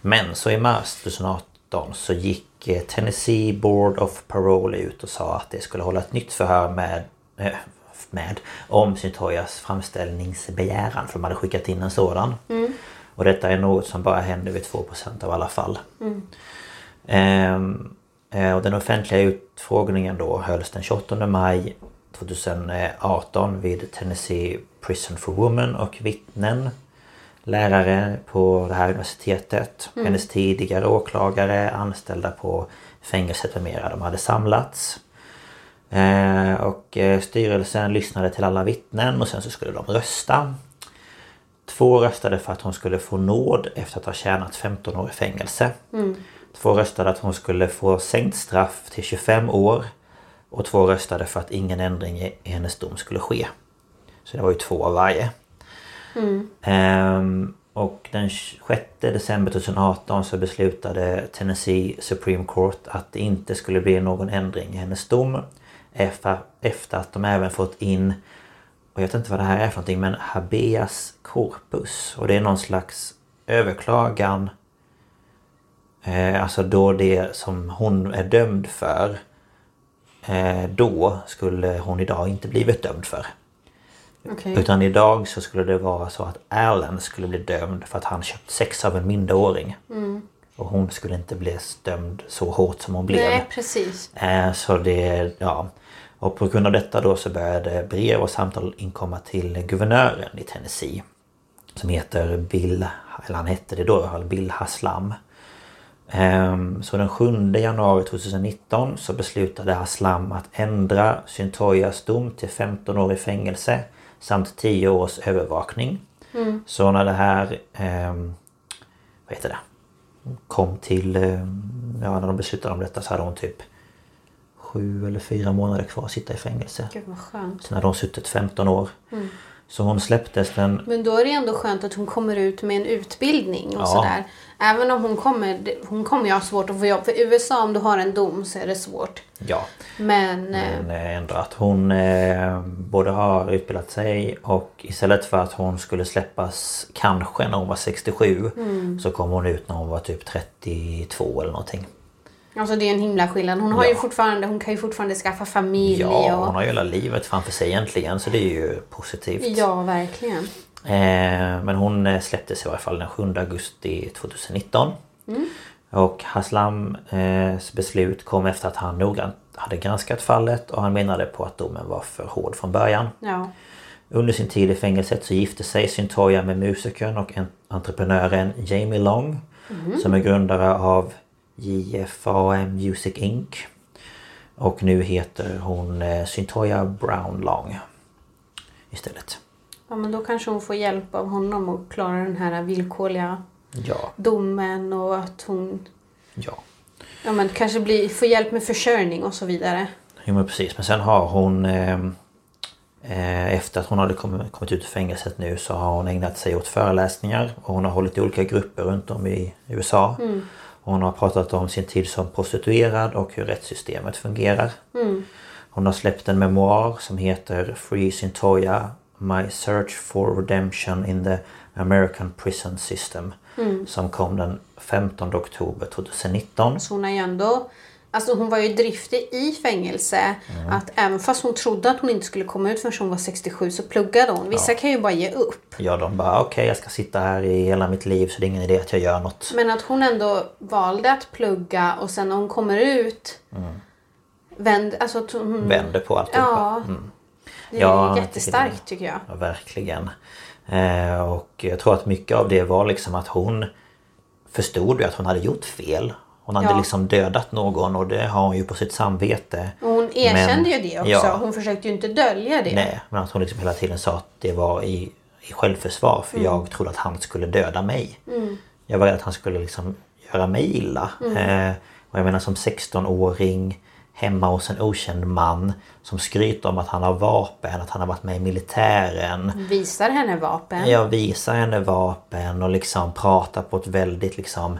Speaker 1: Men så i mars 2018 så gick eh, Tennessee Board of Parole ut och sa att det skulle hålla ett nytt förhör med, eh, med om Syntoyas framställningsbegäran för de hade skickat in en sådan. Och detta är något som bara händer vid 2% av alla fall. Ehm, eh, och den offentliga utfrågningen då hölls den 28 maj 2018 vid Tennessee Prison for Women och vittnen lärare på det här universitetet. Hennes tidigare åklagare, anställda på fängelset med mera. De hade samlats. Eh, och eh, styrelsen lyssnade till alla vittnen och sen så skulle de rösta. Två röstade för att hon skulle få nåd efter att ha tjänat 15 år i fängelse. Två röstade att hon skulle få sänkt straff till 25 år. Och två röstade för att ingen ändring i hennes dom skulle ske. Så det var ju två av varje. Ehm, och den 6 december 2018 så beslutade Tennessee Supreme Court att det inte skulle bli någon ändring i hennes dom. Efter, efter att de även fått in, och jag vet inte vad det här är för någonting, men habeas corpus. Och det är någon slags överklagan. Eh, alltså då det som hon är dömd för. Eh, då skulle hon idag inte blivit dömd för.
Speaker 2: Okej.
Speaker 1: Utan idag så skulle det vara så att Alan skulle bli dömd för att han köpt sex av en minderåring. Och hon skulle inte bli dömd så hårt som hon blev.
Speaker 2: Nej, precis.
Speaker 1: Eh, Så det, ja. Och på grund av detta då så började brev och samtal inkomma till guvernören i Tennessee. Som heter Bill, eller han hette det då, Bill Haslam. Ehm, Så den 7 januari 2019 så beslutade Haslam att ändra Syntoyas dom till 15 år i fängelse samt 10 års övervakning. Så när det här ehm, vad heter det, kom till, eh, ja när de beslutade om detta så hade hon typ sju eller fyra månader kvar att sitta i fängelse.
Speaker 2: Gud vad skönt.
Speaker 1: Så när de suttit 15 år. Så hon släpptes den,
Speaker 2: Men då är det ändå skönt att hon kommer ut med en utbildning och
Speaker 1: Ja.
Speaker 2: sådär. Även om hon kommer, det- hon kommer ju ha svårt att få jobb. För i USA om du har en dom så är det svårt.
Speaker 1: ja,
Speaker 2: Men eh,
Speaker 1: men eh, ändå att hon eh, både har utbildat sig och istället för att hon skulle släppas kanske när hon var 67 så kom hon ut när hon var typ 32 eller någonting.
Speaker 2: alltså det är en himla skillnad. Hon, har ju
Speaker 1: Ja.
Speaker 2: fortfarande, hon kan ju fortfarande skaffa familj.
Speaker 1: Ja,
Speaker 2: och,
Speaker 1: hon har ju hela livet framför sig egentligen så det är ju positivt.
Speaker 2: ja verkligen.
Speaker 1: Eh, men hon eh, släpptes i varje fall den 7 augusti 2019. Och Haslams beslut kom efter att han noggrant hade granskat fallet och han menade på att domen var för hård från början.
Speaker 2: Ja.
Speaker 1: Under sin tid i fängelset så gifte sig Syntoya med musikern och en- entreprenören Jamie Long som är grundare av JFAM Music Inc. Och nu heter hon eh, Syntoya Brown Long istället.
Speaker 2: ja, men då kanske hon får hjälp av honom att klara den här villkorliga
Speaker 1: Ja,
Speaker 2: domen och att hon
Speaker 1: ja.
Speaker 2: ja, men kanske blir, får hjälp med försörjning och så vidare.
Speaker 1: Jo men precis men sen har hon ehm, eh, Efter att hon hade kommit, kommit ut ur fängelset nu så har hon ägnat sig åt föreläsningar och hon har hållit i olika grupper runt om i USA. Hon har pratat om sin tid som prostituerad och hur rättssystemet fungerar. Hon har släppt en memoar som heter Free Syntoya My Search for Redemption in the American Prison System som kom den 15 oktober 2019.
Speaker 2: Så hon har ju ändå Alltså hon var ju driftig i fängelse. Att även fast hon trodde att hon inte skulle komma ut förrän hon var 67 så pluggade hon. Vissa kan ju bara ge upp.
Speaker 1: Ja, de bara okej jag ska sitta här i hela mitt liv så det är ingen idé att jag gör något.
Speaker 2: Men att hon ändå valde att plugga och sen när hon kommer ut
Speaker 1: Mm.
Speaker 2: vänd, alltså att hon,
Speaker 1: Vänder på alltihopa.
Speaker 2: Ja. Det är
Speaker 1: Mm. Ja, jag tycker
Speaker 2: jättestarkt tycker jag.
Speaker 1: Ja, verkligen. Eh, och jag tror att mycket av det var liksom att hon förstod ju att hon hade gjort fel. Hon hade
Speaker 2: Ja.
Speaker 1: liksom dödat någon och det har hon ju på sitt samvete.
Speaker 2: Och hon erkände
Speaker 1: Men-
Speaker 2: ju det också.
Speaker 1: Ja.
Speaker 2: Hon försökte ju inte dölja det.
Speaker 1: Nej, men att hon liksom hela tiden sa att det var i, i självförsvar
Speaker 2: Mm.
Speaker 1: för jag trodde att han skulle döda mig. Jag var rädd att han skulle liksom göra mig illa.
Speaker 2: Mm.
Speaker 1: Eh, och jag menar som 16-åring hemma hos en okänd man som skryter om att han har vapen, att han har varit med i militären.
Speaker 2: Visar henne vapen.
Speaker 1: Jag visar henne vapen och liksom pratar på ett väldigt liksom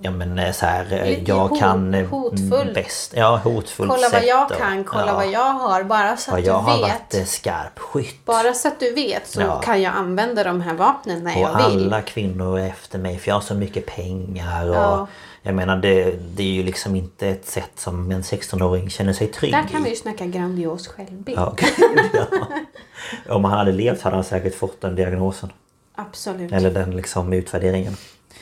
Speaker 1: Ja men eh, så här, eh,
Speaker 2: Lite
Speaker 1: jag
Speaker 2: hot-
Speaker 1: kan eh,
Speaker 2: hotfull.
Speaker 1: bäst. Ja, hotfullt
Speaker 2: Kolla vad
Speaker 1: sätt
Speaker 2: jag
Speaker 1: och-
Speaker 2: kan, kolla
Speaker 1: ja,
Speaker 2: vad jag har. Bara så
Speaker 1: vad
Speaker 2: att
Speaker 1: jag
Speaker 2: du
Speaker 1: har
Speaker 2: vet.
Speaker 1: varit eh, skarp skytt.
Speaker 2: Bara så att du vet så
Speaker 1: Ja.
Speaker 2: kan jag använda de här vapnen när
Speaker 1: Och
Speaker 2: jag vill.
Speaker 1: alla kvinnor är efter mig för jag har så mycket pengar. Och
Speaker 2: Ja.
Speaker 1: Jag menar det, det är ju liksom inte ett sätt som en 16-åring känner sig trygg
Speaker 2: Där kan
Speaker 1: i.
Speaker 2: vi ju snacka grandios självbild.
Speaker 1: Ja, (laughs) gud, ja. Om han hade levt hade han säkert fått den diagnosen.
Speaker 2: Absolut.
Speaker 1: Eller den liksom utvärderingen.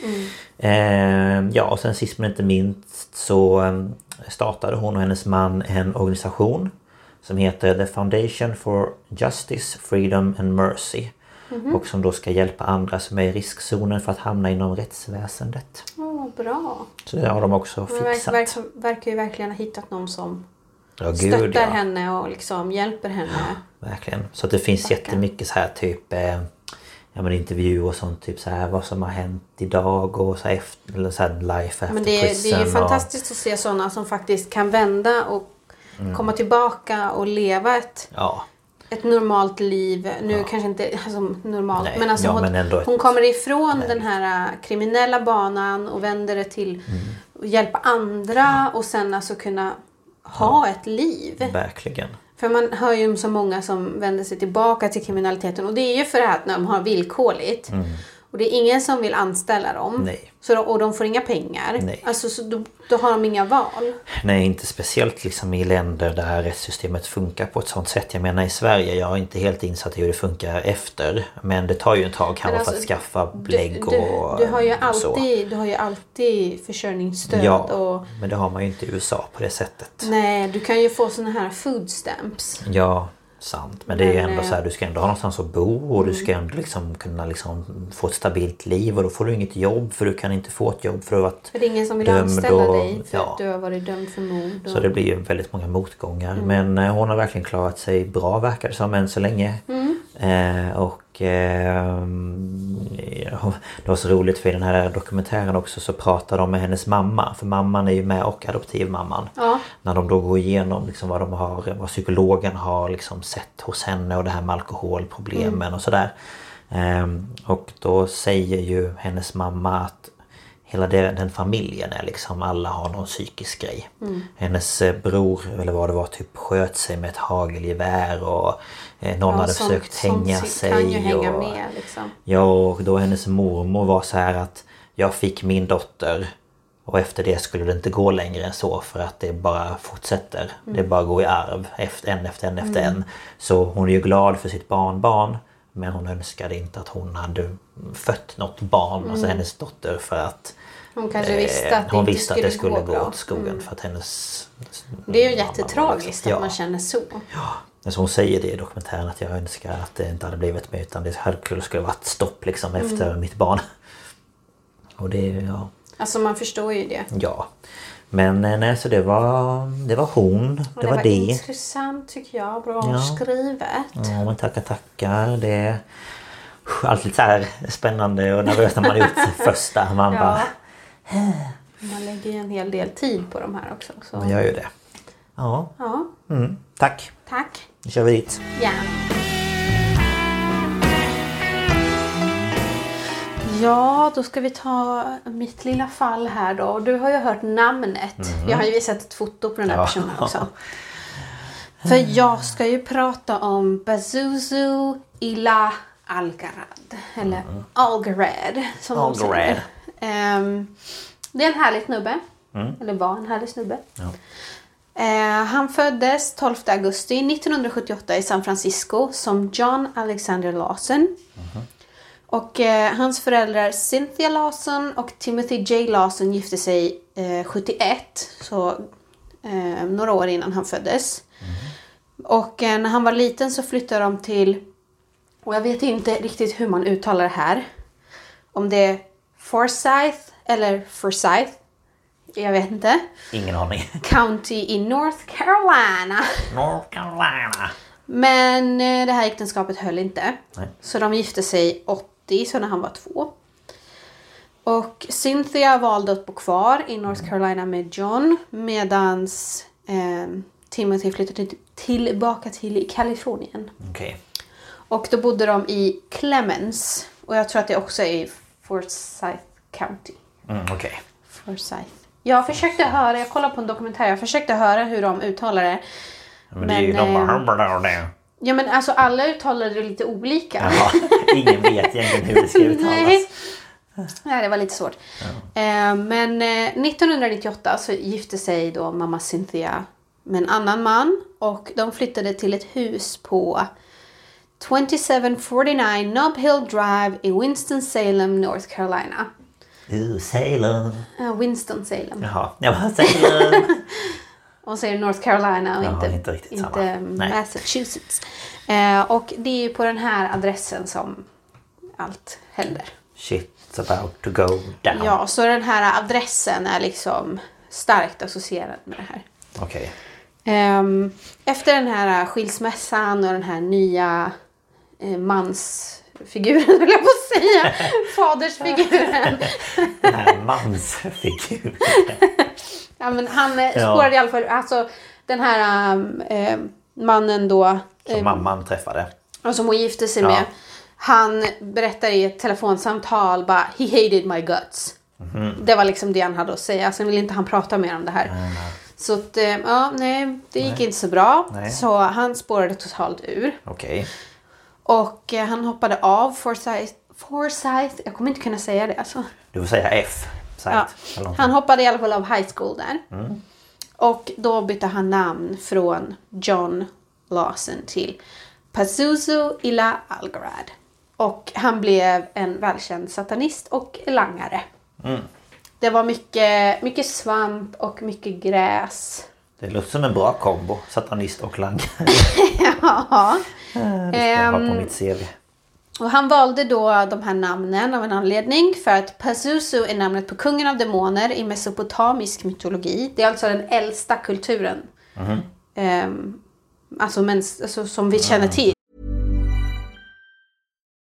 Speaker 2: Mm.
Speaker 1: Eh, ja och sen sist men inte minst så eh, startade hon och hennes man en organisation som heter The Foundation for Justice, Freedom and Mercy.
Speaker 2: Mhm.
Speaker 1: Och som då ska hjälpa andra som är i riskzonen för att hamna inom rättsväsendet.
Speaker 2: Åh, bra.
Speaker 1: Så det har de också
Speaker 2: Hon verkar,
Speaker 1: fixat.
Speaker 2: verkar, verkar ju verkligen ha hittat någon som
Speaker 1: Ja,
Speaker 2: stöttar
Speaker 1: ja.
Speaker 2: henne och liksom hjälper henne.
Speaker 1: Verkligen. Så att det finns jättemycket så här typ eh, ja, men intervjuer och sånt. Typ så här vad som har hänt idag och så här efter, eller så här life after
Speaker 2: Men det, är- det
Speaker 1: prison.
Speaker 2: är ju
Speaker 1: och-
Speaker 2: fantastiskt att se sådana som faktiskt kan vända och
Speaker 1: Mm.
Speaker 2: komma tillbaka och leva ett
Speaker 1: Ja.
Speaker 2: ett normalt liv. Nu kanske inte alltså, normalt,
Speaker 1: Nej,
Speaker 2: men, alltså,
Speaker 1: ja,
Speaker 2: hon,
Speaker 1: men ändå ett-
Speaker 2: hon kommer ifrån den här äh, kriminella banan och vänder det till
Speaker 1: Mm.
Speaker 2: att hjälpa andra och sen alltså kunna ha ett liv.
Speaker 1: Verkligen.
Speaker 2: För man hör ju om så många som vänder sig tillbaka till kriminaliteten och det är ju för att när de har villkorligt och det är ingen som vill anställa dem
Speaker 1: Mm. Nej.
Speaker 2: så de, och de får inga pengar.
Speaker 1: Nej.
Speaker 2: Alltså, så då, då har de inga val.
Speaker 1: Nej, inte speciellt liksom i länder där rättssystemet funkar på ett sånt sätt. Jag menar i Sverige, jag är inte helt insatt i hur det funkar efter. Men det tar ju ett tag kanske för att
Speaker 2: alltså,
Speaker 1: skaffa
Speaker 2: Du-
Speaker 1: belägg och
Speaker 2: du, du, har ju
Speaker 1: och så.
Speaker 2: alltid, du har ju alltid försörjningsstöd
Speaker 1: Ja,
Speaker 2: och
Speaker 1: men det har man ju inte i USA på det sättet.
Speaker 2: Nej, du kan ju få såna här food stamps.
Speaker 1: Ja, sant. Men det är ju
Speaker 2: Men,
Speaker 1: ändå
Speaker 2: eh, mm.
Speaker 1: så här, du ska ändå ha någonstans att bo och du ska ändå liksom kunna liksom få ett stabilt liv och då får du inget jobb för du kan inte få ett jobb för att
Speaker 2: För det är ingen som vill
Speaker 1: Dömd
Speaker 2: anställa
Speaker 1: och-
Speaker 2: dig för
Speaker 1: ja.
Speaker 2: att du har varit dömd för mord. Och...
Speaker 1: Så det blir ju väldigt många motgångar. Men eh, hon har verkligen klarat sig bra verkar det som än så länge. Eh, och eh, ja, det var så roligt för i den här dokumentären också så pratar de med hennes mamma. För mamman är ju med och adoptivmamman.
Speaker 2: Ja.
Speaker 1: När de då går igenom liksom vad, de har, vad psykologen har liksom sett hos henne och det här med alkoholproblemen och sådär. Ehm, och då säger ju hennes mamma att Hela det, den familjen är liksom, alla har någon psykisk grej.
Speaker 2: Mm.
Speaker 1: Hennes eh, bror, eller vad det var, typ sköt sig med ett hagelgevär och eh, någon
Speaker 2: Ja,
Speaker 1: hade
Speaker 2: sånt-
Speaker 1: försökt
Speaker 2: sånt
Speaker 1: hänga
Speaker 2: si-
Speaker 1: sig.
Speaker 2: kan ju hänga
Speaker 1: och,
Speaker 2: med liksom.
Speaker 1: Ja, och då hennes mormor var så här att jag fick min dotter och efter det skulle det inte gå längre än så för att det bara fortsätter.
Speaker 2: Mm.
Speaker 1: Det bara går i arv, efter, en efter en efter en. Så hon är ju glad för sitt barnbarn men hon önskade inte att hon hade fött något barn, alltså hennes dotter för att
Speaker 2: Hon kanske Mm. visste att det
Speaker 1: Eh, hon
Speaker 2: inte
Speaker 1: visste att det skulle gå,
Speaker 2: bra. Mm.
Speaker 1: åt skogen för att hennes...
Speaker 2: Det är ju
Speaker 1: mamma var liksom-
Speaker 2: jättetragiskt
Speaker 1: Ja.
Speaker 2: att man känner så.
Speaker 1: Alltså hon säger det i dokumentären att jag önskar att det inte hade blivit mig utan det hade skulle varit stopp liksom
Speaker 2: Mm.
Speaker 1: efter mitt barn. Och det, ja.
Speaker 2: Alltså man förstår ju det.
Speaker 1: ja. Men eh, nej, så det var, det var hon. Det,
Speaker 2: det
Speaker 1: var,
Speaker 2: var
Speaker 1: det.
Speaker 2: intressant tycker jag. Bra
Speaker 1: Ja. Mm.
Speaker 2: skrivet.
Speaker 1: Ja men tackar tackar. Det är alltid så här spännande och nervöst när man har
Speaker 2: (laughs)
Speaker 1: gjort första. Man
Speaker 2: Ja.
Speaker 1: bara,
Speaker 2: Man lägger ju en hel del tid på de här också. Så.
Speaker 1: man gör ju det. Ja,
Speaker 2: Ja,
Speaker 1: mm. tack.
Speaker 2: tack.
Speaker 1: Nu kör vi dit.
Speaker 2: Ja. Ja, då ska vi ta mitt lilla fall här då. Och Du har ju hört namnet. Jag har ju visat ett foto på den här
Speaker 1: Mhm. Ja. (laughs)
Speaker 2: personen också. För jag ska ju prata om Bazuzu Ila Algarad. Eller Algarad som de
Speaker 1: Mhm.
Speaker 2: säger.
Speaker 1: Algarad.
Speaker 2: Ehm, det är en härlig snubbe.
Speaker 1: Mm.
Speaker 2: Eller var en härlig snubbe. Eh, han föddes 12 augusti 1978 i San Francisco som John Alexander Lawson. Och eh, hans föräldrar Cynthia Lawson och Timothy J Lawson gifte sig eh, 71, så eh, några år innan han föddes. Och eh, när han var liten så flyttade de till, och jag vet inte riktigt hur man uttalar det här, om det är Forsyth eller Forsyth, jag vet inte.
Speaker 1: Ingen
Speaker 2: (laughs)
Speaker 1: aning.
Speaker 2: County i North Carolina. (laughs)
Speaker 1: North Carolina.
Speaker 2: Men eh, det här äktenskapet höll inte.
Speaker 1: Nej.
Speaker 2: Så de gifte sig 80, så när han var två. Och Cynthia valde att bo kvar i
Speaker 1: Mm.
Speaker 2: North Carolina med John medan eh, Timothy flyttade till- tillbaka till Kalifornien.
Speaker 1: Okej.
Speaker 2: Och då bodde de i Clemens. Och jag tror att det också är i Forsyth County.
Speaker 1: Mm, Okej.
Speaker 2: Forsyth. Jag försökte höra, jag kollade på en dokumentär, jag försökte höra hur de uttalar det.
Speaker 1: Men, det är ju de
Speaker 2: ehm,
Speaker 1: bara...
Speaker 2: Ja men alltså alla uttalar det lite olika.
Speaker 1: Ja, ingen vet egentligen hur det ska uttalas.
Speaker 2: (laughs) Nej. Nej, det var lite svårt. Eh, men eh, 1998 så gifte sig då mamma Cynthia med en annan man och de flyttade till ett hus på 2749 Nob Hill Drive i Winston-Salem, North Carolina.
Speaker 1: Uh, Salem.
Speaker 2: Eh, Winston-Salem.
Speaker 1: Jaha, jag bara Salem.
Speaker 2: Och säger North Carolina och
Speaker 1: Ja,
Speaker 2: inte,
Speaker 1: inte riktigt samma.
Speaker 2: inte
Speaker 1: Nej.
Speaker 2: Massachusetts. Eh, och det är ju på den här adressen som allt händer.
Speaker 1: Shit's about to go down.
Speaker 2: Ja, så den här adressen är liksom starkt associerad med det här.
Speaker 1: Okej.
Speaker 2: Ehm, efter den här skilsmässan och den här nya eh, mansfiguren, (laughs) höll jag på att säga, fadersfiguren.
Speaker 1: Den här mansfiguren.
Speaker 2: Ja, men han eh, spårade i alla fall, alltså den här um, eh, mannen då,
Speaker 1: Som
Speaker 2: eh,
Speaker 1: mamman träffade.
Speaker 2: och som hon gifte sig
Speaker 1: Ja.
Speaker 2: med. Han berättar i ett telefonsamtal bara he hated my guts.
Speaker 1: Mhm.
Speaker 2: Det var liksom det han hade att säga. Sen ville inte han prata mer om det här. Så att, eh, ja, nej, det gick inte så bra.
Speaker 1: Nej.
Speaker 2: Så han spårade totalt ur.
Speaker 1: Okej.
Speaker 2: Och eh, han hoppade av Forsyth. Forsyth, jag kommer inte kunna säga det alltså.
Speaker 1: Du får säga F. Sagt.
Speaker 2: Ja.
Speaker 1: Eller någonting. Mm.
Speaker 2: Han hoppade i alla fall av high school där. Och då bytte han namn från John Lawson till Pazuzu Ila Algarad. Och han blev en välkänd satanist och langare.
Speaker 1: Mm.
Speaker 2: Det var mycket, mycket svamp och mycket gräs.
Speaker 1: Det låter som en bra kombo. Satanist och langare.
Speaker 2: (laughs) Ja. Ehm.
Speaker 1: Det ska jag ha på mitt CV.
Speaker 2: Och han valde då de här namnen av en anledning för att Pazuzu är namnet på kungen av demoner i mesopotamisk mytologi. Det är alltså den äldsta kulturen. Ehm, alltså, men, alltså som vi känner till.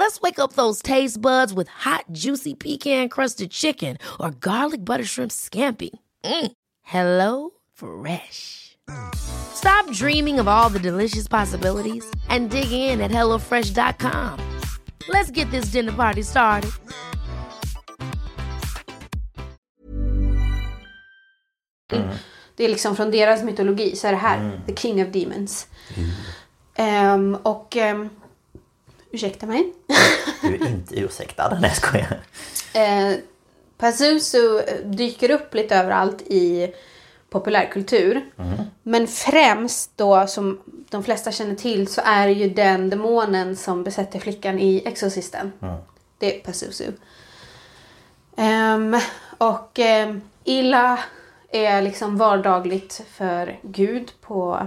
Speaker 3: Let's wake up those taste buds with hot, juicy pecan-crusted chicken or garlic butter shrimp scampi. Mm. Hello Fresh. Stop dreaming of all the delicious possibilities and dig in at HelloFresh.com. Let's get this dinner party started.
Speaker 2: Det är liksom från deras mytologi så är det här The King of Demons. Ehm, och... Um, ursäkta mig.
Speaker 1: Du är inte ursäktad. Nej, jag skojar.
Speaker 2: Eh, Pazuzu dyker upp lite överallt i populärkultur. Men främst då, som de flesta känner till, så är det ju den demonen som besätter flickan i Exorcisten. Det är Pazuzu. Ehm, och ehm, Illa är liksom vardagligt för Gud på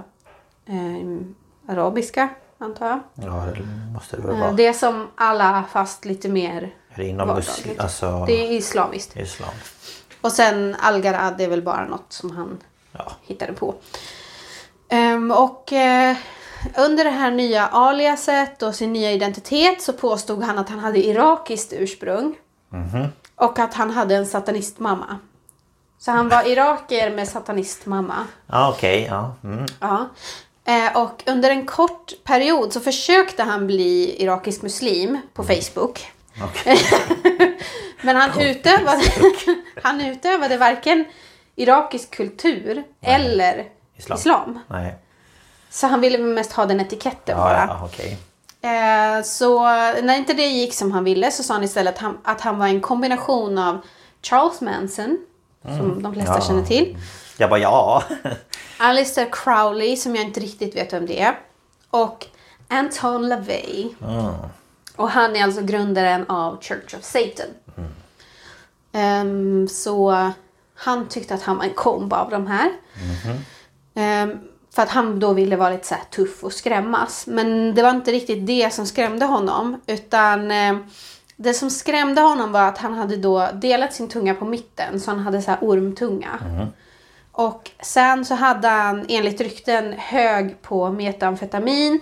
Speaker 2: ehm, arabiska, antar jag.
Speaker 1: Ja, det måste det väl
Speaker 2: Eh,
Speaker 1: vara.
Speaker 2: Det är som alla, fast lite mer
Speaker 1: Är det inom muslim?
Speaker 2: vardagligt.
Speaker 1: Alltså
Speaker 2: Det är islamiskt.
Speaker 1: islam?
Speaker 2: Och sen Algarad är väl bara något som han
Speaker 1: Ja.
Speaker 2: hittade på. Ehm, och eh, under det här nya aliaset och sin nya identitet så påstod han att han hade irakiskt ursprung.
Speaker 1: Mhm.
Speaker 2: Och att han hade en satanistmamma. Så
Speaker 1: (laughs)
Speaker 2: han var irakier med satanistmamma.
Speaker 1: Ja, okej. ja. Mm.
Speaker 2: Ja. Eh, Och under en kort period så försökte han bli irakisk muslim på Facebook.
Speaker 1: Mm. Okej.
Speaker 2: (laughs) Men han utövade, (laughs) han utövade varken irakisk kultur eller
Speaker 1: Islam.
Speaker 2: islam.
Speaker 1: Nej.
Speaker 2: Så han ville mest ha den etiketten
Speaker 1: Ja,
Speaker 2: bara.
Speaker 1: ja okej.
Speaker 2: Eh, Så när inte det gick som han ville så sa han istället att han, att han var en kombination av Charles Manson, som de flesta
Speaker 1: Mm. Ja.
Speaker 2: känner till,
Speaker 1: Jag bara ja. (laughs)
Speaker 2: Alistair Crowley, som jag inte riktigt vet vem det är. Och Anton LaVey. Och han är alltså grundaren av Church of Satan. Ehm, så han tyckte att han var en kombo av de här. Ehm, för att han då ville vara lite så här tuff och skrämmas. Men det var inte riktigt det som skrämde honom. Utan eh, det som skrämde honom var att han hade då delat sin tunga på mitten. Så han hade så här ormtunga. Och sen så hade han enligt rykten hög på metamfetamin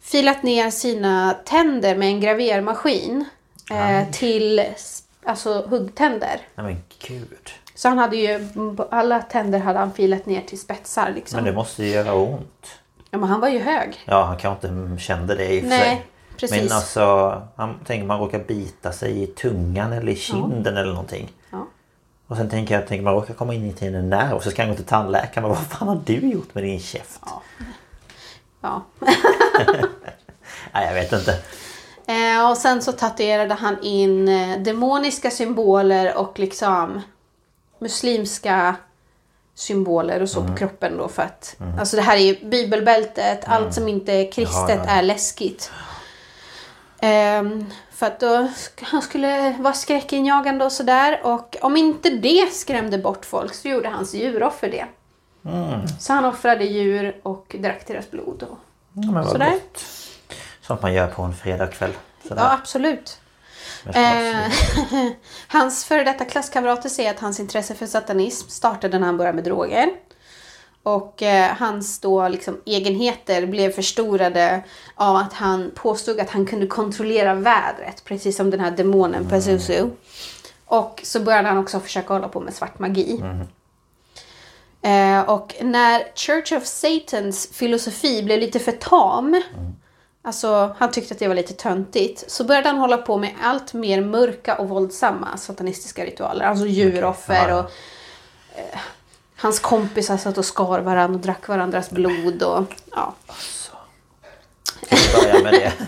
Speaker 2: filat ner sina tänder med en gravermaskin eh, till s- alltså huggtänder.
Speaker 1: Nej men gud.
Speaker 2: Så han hade ju alla tänder hade han filat ner till spetsar liksom.
Speaker 1: Men det måste ju göra ont.
Speaker 2: Ja, men han var ju hög.
Speaker 1: Ja, han kanske inte kände det i och för
Speaker 2: Nej,
Speaker 1: sig.
Speaker 2: precis.
Speaker 1: Men alltså, han, tänk om man råkar bita sig i tungan eller i kinden eller någonting.
Speaker 2: Ja.
Speaker 1: Och sen tänker jag, tänk om man råkar komma in i en nerv och så ska han gå till tandläkaren. Men vad fan har du gjort med din käft?
Speaker 2: Ja.
Speaker 1: Nej, jag vet inte.
Speaker 2: Eh, och sen så tatuerade han in eh, demoniska symboler och liksom muslimska symboler och så
Speaker 1: Mm.
Speaker 2: på kroppen då för att... Alltså det här är ju bibelbältet, allt som inte är kristet
Speaker 1: Mm. ja,
Speaker 2: är läskigt. Ehm, för att då, sk- han skulle vara skräckinjagande och sådär och om inte det skrämde bort folk så gjorde hans djuroffer det.
Speaker 1: Mm.
Speaker 2: Så han offrade djur och drack deras blod. Och,
Speaker 1: Mm. Ja, men vad
Speaker 2: sådär.
Speaker 1: gott. Sånt man gör på en fredagkväll. Sådär.
Speaker 2: Ja, absolut.
Speaker 1: med
Speaker 2: Eh,
Speaker 1: slafsigt.
Speaker 2: Hans före detta klasskamrater säger att hans intresse för satanism startade när han började med droger. Och eh, hans då liksom egenheter blev förstorade av att han påstod att han kunde kontrollera vädret, precis som den här demonen Pazuzu. Och så började han också försöka hålla på med svart magi. Eh, och när Church of Satans filosofi blev lite för tam, alltså han tyckte att det var lite töntigt, så började han hålla på med allt mer mörka och våldsamma satanistiska ritualer. Alltså djuroffer
Speaker 1: Ja, ja.
Speaker 2: och eh, hans kompisar satt och skar varandra och drack varandras blod. Och, ja.
Speaker 1: Börja med det. (laughs)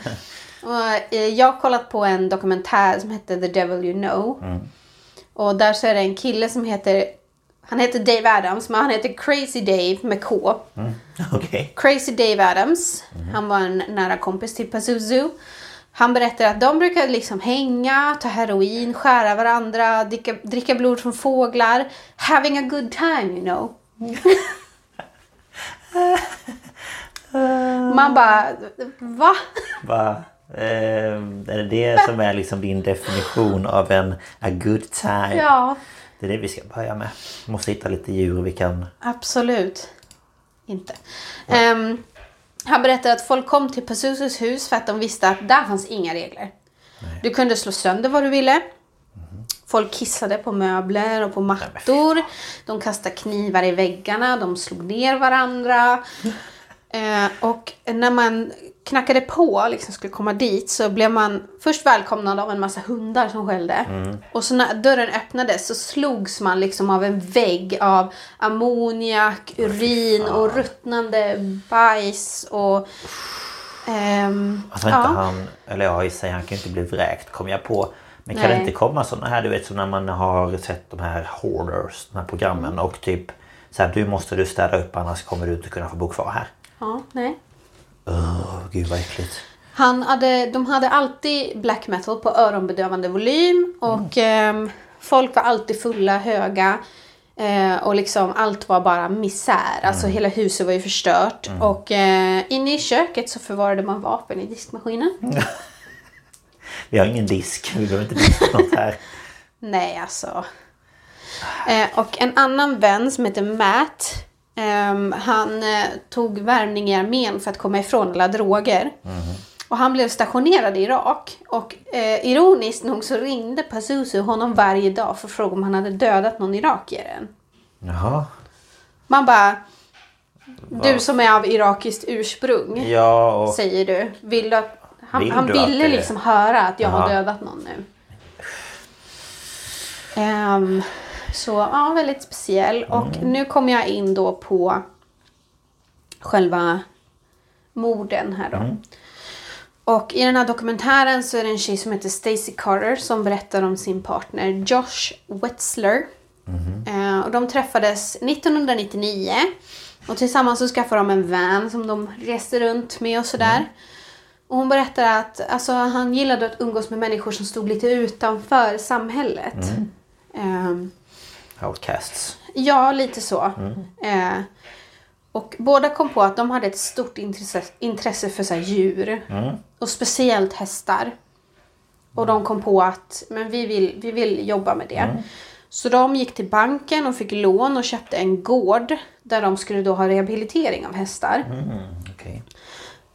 Speaker 2: Och, eh, jag har kollat på en dokumentär som heter The Devil You Know. Och där så är det en kille som heter, han heter Dave Adams, men han heter Crazy Dave med K.
Speaker 1: Okej.
Speaker 2: Crazy Dave Adams, han var en nära kompis till Pazuzu. Han berättar att de brukar liksom hänga, ta heroin, skära varandra, dricka, dricka blod från fåglar. Having a good time, you know. Man bara, va?
Speaker 1: Va? Eh, är det det som är liksom din definition av en a good time?
Speaker 2: Ja,
Speaker 1: Det är det vi ska börja med. Måste hitta lite djur vi kan...
Speaker 2: Absolut inte. Ehm, han berättade att folk kom till Pazuzus hus för att de visste att där fanns inga regler. Du kunde slå sönder vad du ville. Folk kissade på möbler och på mattor. De kastade knivar i väggarna. De slog ner varandra. Eh, och när man knackade på, liksom skulle komma dit, så blev man först välkomnad av en massa hundar som skällde. Och så när dörren öppnades så slogs man liksom av en vägg av ammoniak, urin och ruttnande bajs och... ehm,
Speaker 1: Jag tror Alltså inte han... Eller ja, i sig, han kan ju inte bli vräkt kom jag på. Men kan
Speaker 2: Nej.
Speaker 1: det inte komma sådana här, du vet som när man har sett de här hoarders, de här programmen och typ så här, du måste du städa upp annars kommer du inte kunna få bo kvar här.
Speaker 2: ja, nej.
Speaker 1: Åh, gud vad äckligt.
Speaker 2: Han hade, de hade alltid black metal på öronbedövande volym och ehm, folk var alltid fulla, höga eh, och liksom allt var bara misär. Alltså hela huset var ju förstört och eh, inne i köket så förvarade man vapen i diskmaskinen.
Speaker 1: Vi har ingen disk, vi behöver inte diska något här.
Speaker 2: Nej, alltså. Eh, och en annan vän som heter Matt. ehm, han eh, tog värvning i armén för att komma ifrån alla droger. Och han blev stationerad i Irak. Och eh, ironiskt nog så ringde Pazuzu honom varje dag för att fråga om han hade dödat någon irakier än.
Speaker 1: Jaha.
Speaker 2: Man bara... Du som är av irakiskt ursprung,
Speaker 1: Ja, och
Speaker 2: säger du. Vill du att, han
Speaker 1: Vill
Speaker 2: han
Speaker 1: du att
Speaker 2: ville
Speaker 1: det-
Speaker 2: liksom höra att jag har
Speaker 1: Ja.
Speaker 2: dödat någon nu. Ehm, så ja, väldigt speciell.
Speaker 1: Mm.
Speaker 2: Och nu kommer jag in då på själva morden här då.
Speaker 1: Mm.
Speaker 2: Och i den här dokumentären så är det en tjej som heter Stacy Carter som berättar om sin partner Josh Wetzler.
Speaker 1: Mm-hmm.
Speaker 2: Eh, och de träffades 1999 och tillsammans så skaffade de en van som de reste runt med och sådär. Och hon berättar att alltså, han gillade att umgås med människor som stod lite utanför samhället. Ehm,
Speaker 1: outcasts.
Speaker 2: Ja, lite så. Eh, och båda kom på att de hade ett stort intresse, intresse för så här, djur. Och speciellt hästar. Och de kom på att men vi, vill, vi vill jobba med det. Så de gick till banken och fick lån och köpte en gård där de skulle då ha rehabilitering av hästar.
Speaker 1: Mm, Okej.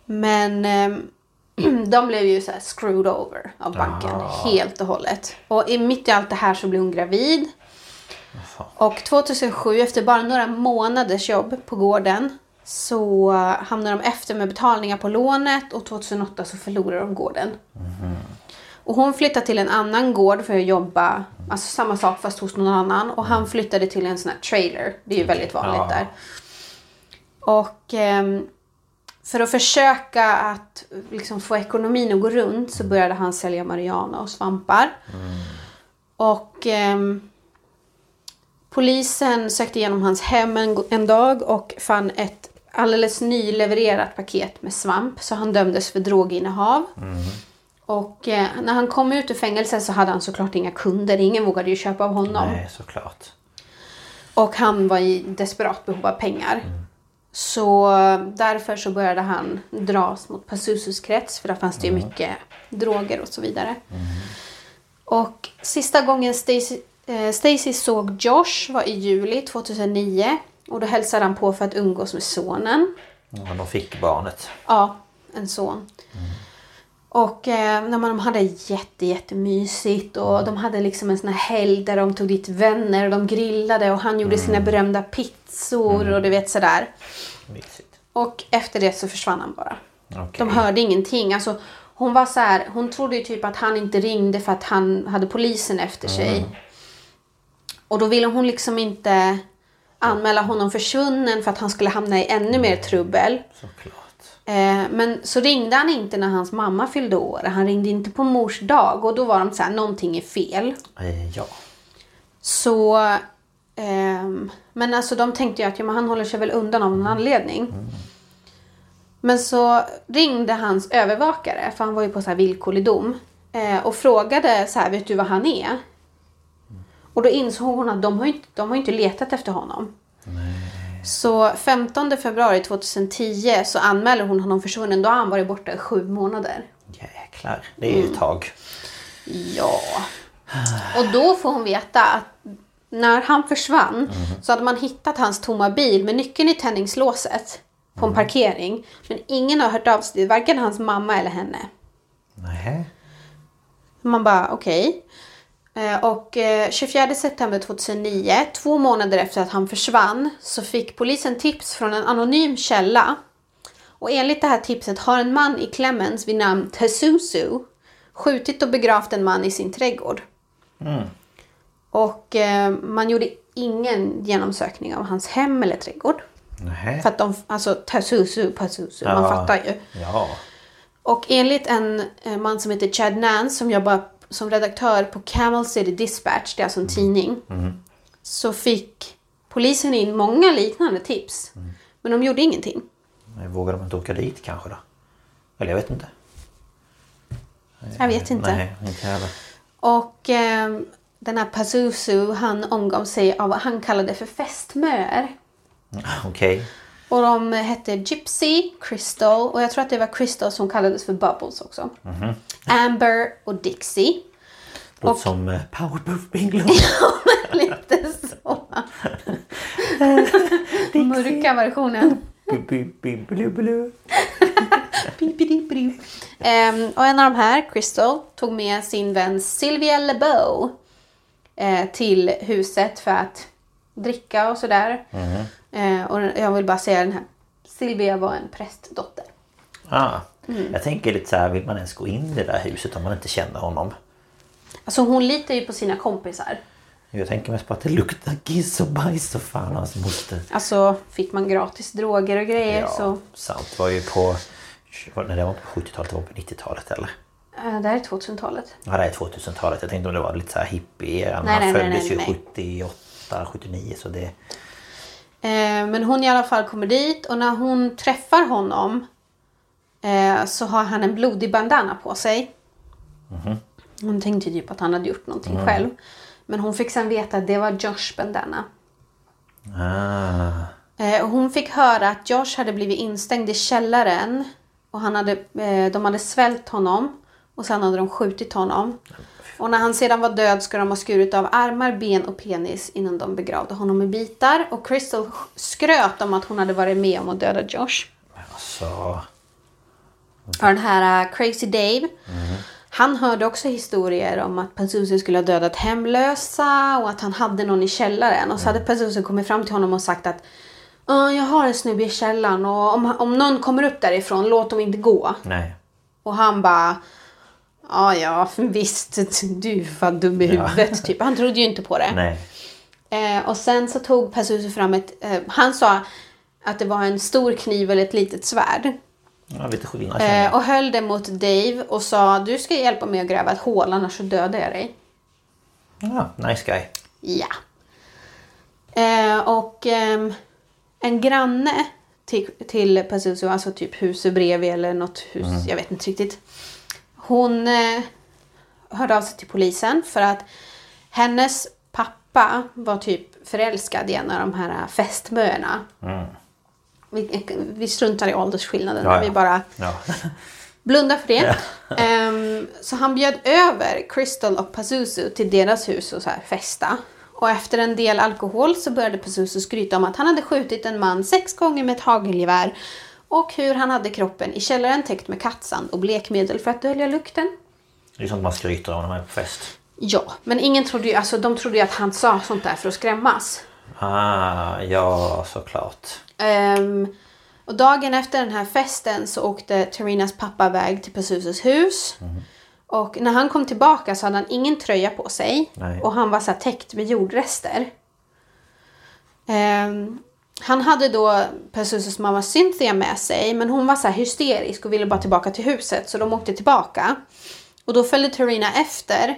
Speaker 2: Men ehm, (clears throat) de blev ju så här screwed over av banken helt och hållet. Och i mitt i allt det här så blev hon gravid. Och 2007, efter bara några månaders jobb på gården, så hamnade de efter med betalningar på lånet och 2008 så förlorade de gården. Och hon flyttade till en annan gård för att jobba, alltså samma sak fast hos någon annan. Och han flyttade till en sån här trailer, det är ju väldigt vanligt
Speaker 1: Ja.
Speaker 2: där. Och ehm, för att försöka att liksom få ekonomin att gå runt så började han sälja marijuana och svampar. Och ehm, Polisen sökte igenom hans hem en, en dag och fann ett alldeles nylevererat paket med svamp. Så han dömdes för droginnehav. Och eh, när han kom ut ur fängelse så hade han såklart inga kunder. Ingen vågade ju köpa av honom.
Speaker 1: Nej, såklart.
Speaker 2: Och han var i desperat behov av pengar. Så därför så började han dras mot Pazuzus krets för där fanns det ju mycket droger och så vidare. Och sista gången Stacy eh, Stacy såg Josh var i juli 2009 och då hälsade han på för att umgås med sonen.
Speaker 1: Ja, de fick barnet.
Speaker 2: Ja, en son. Och eh, när man, de hade jätte, jättemysigt och de hade liksom en sån här helg där de tog dit vänner och de grillade och han gjorde sina berömda pizzor och du vet sådär.
Speaker 1: Mysigt.
Speaker 2: Och efter det så försvann han bara.
Speaker 1: Okej.
Speaker 2: De hörde ingenting. Alltså, hon var så här, hon trodde ju typ att han inte ringde för att han hade polisen efter sig. Och då ville hon liksom inte anmäla honom försvunnen för att han skulle hamna i ännu mer trubbel.
Speaker 1: Såklart.
Speaker 2: Eh, men så ringde han inte när hans mamma fyllde år. Han ringde inte på mors dag och då var de så här, någonting är fel.
Speaker 1: Eh, Ja.
Speaker 2: Så, ehm, men alltså de tänkte ju att ja, men han håller sig väl undan av någon anledning. Men så ringde hans övervakare, för han var ju på så här villkorlig dom. Eh, och frågade så här, vet du vad han är? Och då insåg hon att de har ju inte, de har ju inte letat efter honom. Så 15 februari 2010 så anmäler hon honom försvunnen. Då har han varit borta i sju månader.
Speaker 1: Jäklar. Det är ju ett tag.
Speaker 2: Ja. Och då får hon veta att när han försvann så hade man hittat hans tomma bil med nyckeln i tändningslåset på en parkering. Men ingen har hört av sig, varken hans mamma eller henne.
Speaker 1: Nej.
Speaker 2: Man bara okej. Eh, Och eh, 24 september 2009, två månader efter att han försvann, så fick polisen tips från en anonym källa. Och enligt det här tipset har en man i Clemens vid namn Tesusu skjutit och begravt en man i sin trädgård. Och eh, man gjorde ingen genomsökning av hans hem eller trädgård.
Speaker 1: Nej.
Speaker 2: För att de, alltså Tesusu, Pazuzu,
Speaker 1: Ja.
Speaker 2: man fattar ju.
Speaker 1: Ja.
Speaker 2: Och enligt en eh, man som heter Chad Nance som jobbar som redaktör på Camel City Dispatch, det är
Speaker 1: Mm.
Speaker 2: alltså en tidning, så fick polisen in många liknande tips.
Speaker 1: Mm.
Speaker 2: Men de gjorde ingenting.
Speaker 1: Men Vågar de inte åka dit kanske då? Eller jag vet inte.
Speaker 2: Jag vet inte.
Speaker 1: Nej, inte heller.
Speaker 2: Och eh, den här Pazuzu, han omgav sig av vad han kallade för fästmöer.
Speaker 1: Okej.
Speaker 2: Och de hette Gypsy, Crystal och jag tror att det var Crystal som kallades för Bubbles också. Amber och Dixie.
Speaker 1: Mhm. Låter
Speaker 2: Och-
Speaker 1: som eh, Powerpuff
Speaker 2: (laughs)
Speaker 1: Bingo.
Speaker 2: Lite så. Mörka versionen.
Speaker 1: Bibbidibbidibbidu.
Speaker 2: Ehm, och en av de här, Crystal, tog med sin vän Sylvia LeBeau eh, till huset för att dricka och sådär. Eh, och jag vill bara säga den här, Sylvia var en prästdotter.
Speaker 1: ah.
Speaker 2: Mm.
Speaker 1: Jag tänker lite så här, vill man ens gå in i det där huset om man inte känner honom?
Speaker 2: Alltså hon litar ju på sina kompisar.
Speaker 1: Jag tänker mest på att det luktar kiss och bajs och fan hans moster.
Speaker 2: Alltså fick man gratis droger och grejer så...
Speaker 1: sant. Det var ju på... Nej, det var inte på 70-talet, det var på 90-talet eller?
Speaker 2: Eh, det här är 2000-talet.
Speaker 1: Ja, det här är 2000-talet. Jag tänkte om det var lite så här hippie. Han
Speaker 2: Nej, nej, nej,
Speaker 1: föddes
Speaker 2: nej,
Speaker 1: ju
Speaker 2: nej.
Speaker 1: 78, 79 så det...
Speaker 2: Eh, men hon i alla fall kommer dit och när hon träffar honom eh, så har han en blodig bandana på sig. Hon tänkte typ att han hade gjort någonting själv. Men hon fick sen veta att det var Josh bandana.
Speaker 1: Ah.
Speaker 2: Eh, och hon fick höra att Josh hade blivit instängd i källaren och han hade, eh, de hade svält honom och sen hade de skjutit honom. Och när han sedan var död ska de ha skurit av armar, ben och penis innan de begravde honom i bitar. Och Crystal skröt om att hon hade varit med om att döda Josh.
Speaker 1: Alltså...
Speaker 2: Och den här eh, Crazy Dave. Han hörde också historier om att Pazuzu skulle ha dödat hemlösa och att han hade någon i källaren. Och så hade Pazuzu kommit fram till honom och sagt att "Ja, jag har en snubbe i källaren och om, om någon kommer upp därifrån låt dem inte gå.
Speaker 1: Nej.
Speaker 2: Och han bara Ja, ja, visst. Du var dum i huvudet. Typ. Han trodde ju inte på det.
Speaker 1: Nej.
Speaker 2: Eh, och sen så tog Pazuzu fram ett... Eh, han sa att det var en stor kniv eller ett litet svärd.
Speaker 1: Ja, lite skillnad känner jag.
Speaker 2: Eh, och höll det mot Dave och sa du ska hjälpa mig att gräva ett hål annars så dödar jag dig.
Speaker 1: Ja, nice guy.
Speaker 2: Ja. Eh, och ehm, en granne till, till Pazuzu, alltså typ huset bredvid eller något hus,
Speaker 1: Mm.
Speaker 2: jag vet inte riktigt. Hon eh, hörde av sig till polisen för att hennes pappa var typ förälskad i en av de här fästmöerna. Vi, vi struntar i åldersskillnaden,
Speaker 1: Mm. Ja, ja.
Speaker 2: vi bara
Speaker 1: Ja.
Speaker 2: Blunda för det. (laughs) Ehm, så han bjöd över Crystal och Pazuzu till deras hus och så här festa. Och efter en del alkohol så började Pazuzu skryta om att han hade skjutit en man sex gånger med ett hagelgevär och hur han hade kroppen i källaren täckt med kattsand och blekmedel för att dölja lukten.
Speaker 1: Det är sånt man skryter om när man är på fest.
Speaker 2: Ja, men ingen trodde ju, alltså de trodde ju att han sa sånt där för att skrämmas.
Speaker 1: Ah, ja såklart.
Speaker 2: Ehm, och dagen efter den här festen så åkte Terinas pappa iväg till Pazuzus hus. Och när han kom tillbaka så hade han ingen tröja på sig.
Speaker 1: Nej.
Speaker 2: Och han var så här täckt med jordrester. Ehm, han hade då Pazuzus mamma Cynthia med sig. Men hon var så här hysterisk och ville bara tillbaka till huset. Så de åkte tillbaka. Och då följde Terina efter.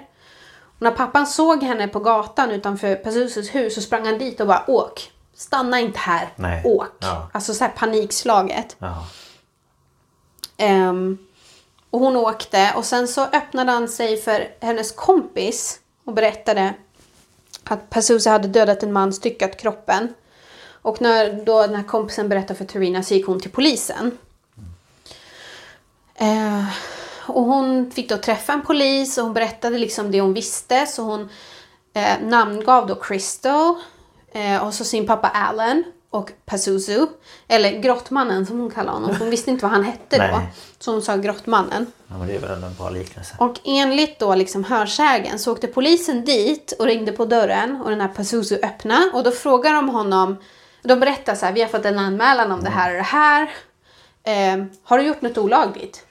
Speaker 2: Och när pappan såg henne på gatan utanför Pazuzus hus så sprang han dit och bara åk. Stanna inte här.
Speaker 1: Nej.
Speaker 2: Åk.
Speaker 1: Ja.
Speaker 2: Alltså så här panikslaget.
Speaker 1: Ja.
Speaker 2: Ehm, och hon åkte och sen så öppnade han sig för hennes kompis och berättade att Pazuzu hade dödat en man, styckat kroppen. Och när då den här kompisen berättade för Turina så gick hon till polisen. Eh, och hon fick då träffa en polis och hon berättade liksom det hon visste. Så hon eh, namngav då Crystal eh, och så sin pappa Alan och Pazuzu. Eller Grottmannen som hon kallade honom. för Hon visste inte vad han hette då.
Speaker 1: Nej.
Speaker 2: Så hon sa Grottmannen.
Speaker 1: ja, men det är väl ändå en bra liknelse.
Speaker 2: Och enligt då liksom hörsägen så åkte polisen dit och ringde på dörren och den här Pazuzu öppnade och då frågar de honom, de berättar så här, vi har fått en anmälan om det här och det här. Eh, har du gjort något olagligt?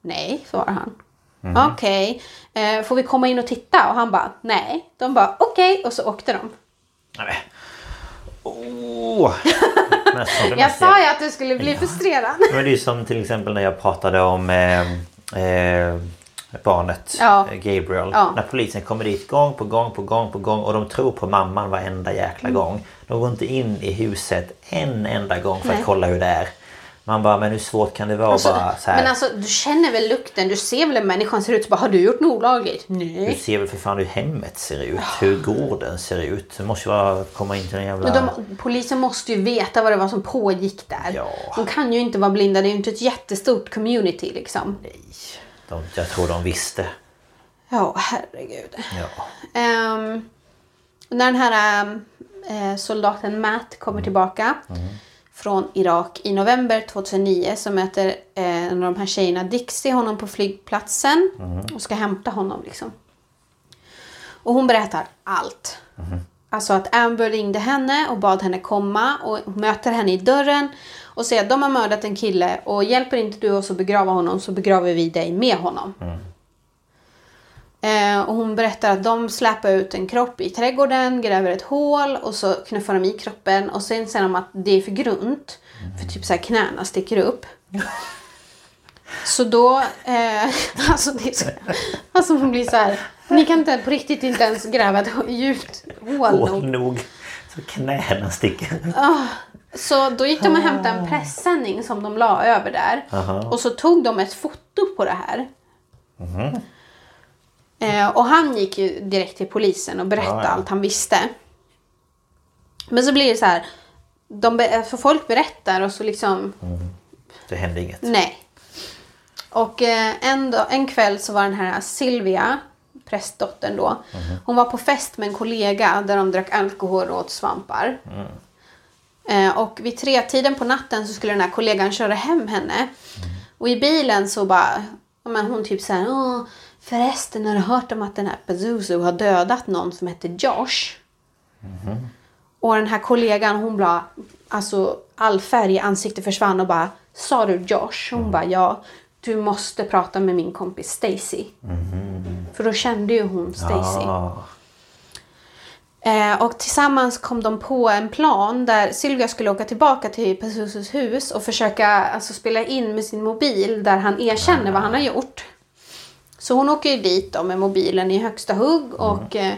Speaker 2: Nej, svarar han.
Speaker 1: Mhm.
Speaker 2: Okej, eh, får vi komma in och titta? Och han bara, nej. De bara, okej, och så åkte de.
Speaker 1: Nej.
Speaker 2: (laughs)
Speaker 1: Åh! Men så det
Speaker 2: Jag
Speaker 1: mest
Speaker 2: sa
Speaker 1: jävla-
Speaker 2: ju att du skulle bli frustrerad.
Speaker 1: Men det är ju som till exempel när jag pratade om eh, eh, barnet
Speaker 2: Ja.
Speaker 1: eh, Gabriel.
Speaker 2: Ja.
Speaker 1: När polisen kommer dit gång på gång på gång på gång och de tror på mamman varenda jäkla
Speaker 2: Mm.
Speaker 1: gång. De går inte in i huset en enda gång för
Speaker 2: Nej.
Speaker 1: att kolla hur det är. Man bara, men hur svårt kan det vara
Speaker 2: Alltså,
Speaker 1: bara så här.
Speaker 2: men alltså du känner väl lukten, du ser väl hur människan ser ut, så bara, har du gjort något olagligt?
Speaker 1: Du
Speaker 2: Nej. Ah.
Speaker 1: ser väl för fan hur hemmet ser ut, hur gården ser ut. Du måste ju bara komma in till den jävla...
Speaker 2: Men de, polisen måste ju veta vad det var som pågick där.
Speaker 1: Ja.
Speaker 2: De kan ju inte vara blinda, det är ju inte ett jättestort community liksom.
Speaker 1: De, jag tror de visste.
Speaker 2: Ja, herregud.
Speaker 1: Ja.
Speaker 2: Ehm, när den här ehm, eh, soldaten Matt kommer tillbaka från Irak i november 2009 så möter eh, en av de här tjejerna Dixie honom på flygplatsen och ska hämta honom. Liksom. Och hon berättar allt. Alltså att Amber ringde henne och bad henne komma och möter henne i dörren och säger att de har mördat en kille och hjälper inte du oss att begrava honom så begraver vi dig med honom. Eh, och hon berättar att de släpar ut en kropp i trädgården, gräver ett hål och så knuffar de i kroppen och sen säger de att det är för grunt. För typ så här knäna sticker upp. Så då, eh, (laughs) alltså, det är så, alltså hon blir så här. Ni kan inte på riktigt inte ens gräva ett djupt hål
Speaker 1: Hål
Speaker 2: nog.
Speaker 1: nog. Så knäna sticker ut.
Speaker 2: Så då gick de och hämtade en pressändning som de la över där. Och så tog de ett foto på det här. Eh, och han gick ju direkt till polisen och berättade
Speaker 1: Ja, ja.
Speaker 2: allt han visste. Men så blir det så här. De be- för folk berättar och så liksom,
Speaker 1: Det hände inget.
Speaker 2: nej. Och eh, en, dag, en kväll så var den här Silvia, prästdottern då. Hon var på fest med en kollega där de drack alkohol och åt svampar. Eh, Och vid tretiden på natten så skulle den här kollegan köra hem henne. Och i bilen så bara, ja, men hon typ såhär, Åh, förresten har du hört om att den här Pazuzu har dödat någon som heter Josh? Och den här kollegan hon bara, alltså all färg i ansiktet försvann och bara, sa du Josh? Hon bara, ja. Du måste prata med min kompis Stacy. För då kände ju hon Stacy.
Speaker 1: Ah,
Speaker 2: Eh, och tillsammans kom de på en plan där Sylvia skulle åka tillbaka till Pazuzus hus och försöka alltså, spela in med sin mobil där han erkänner vad han har gjort. Så hon åker ju dit då med mobilen i högsta hugg och eh,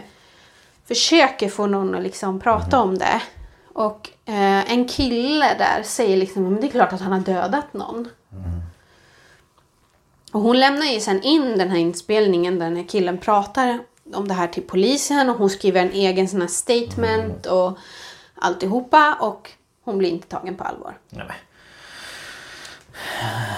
Speaker 2: försöker få någon att liksom prata om det. Och eh, en kille där säger liksom men det är klart att han har dödat någon. Och hon lämnar ju sen in den här inspelningen där den här killen pratar om det här till polisen och hon skriver en egen sån här statement och alltihopa och hon blir inte tagen på allvar.
Speaker 1: Nej, men.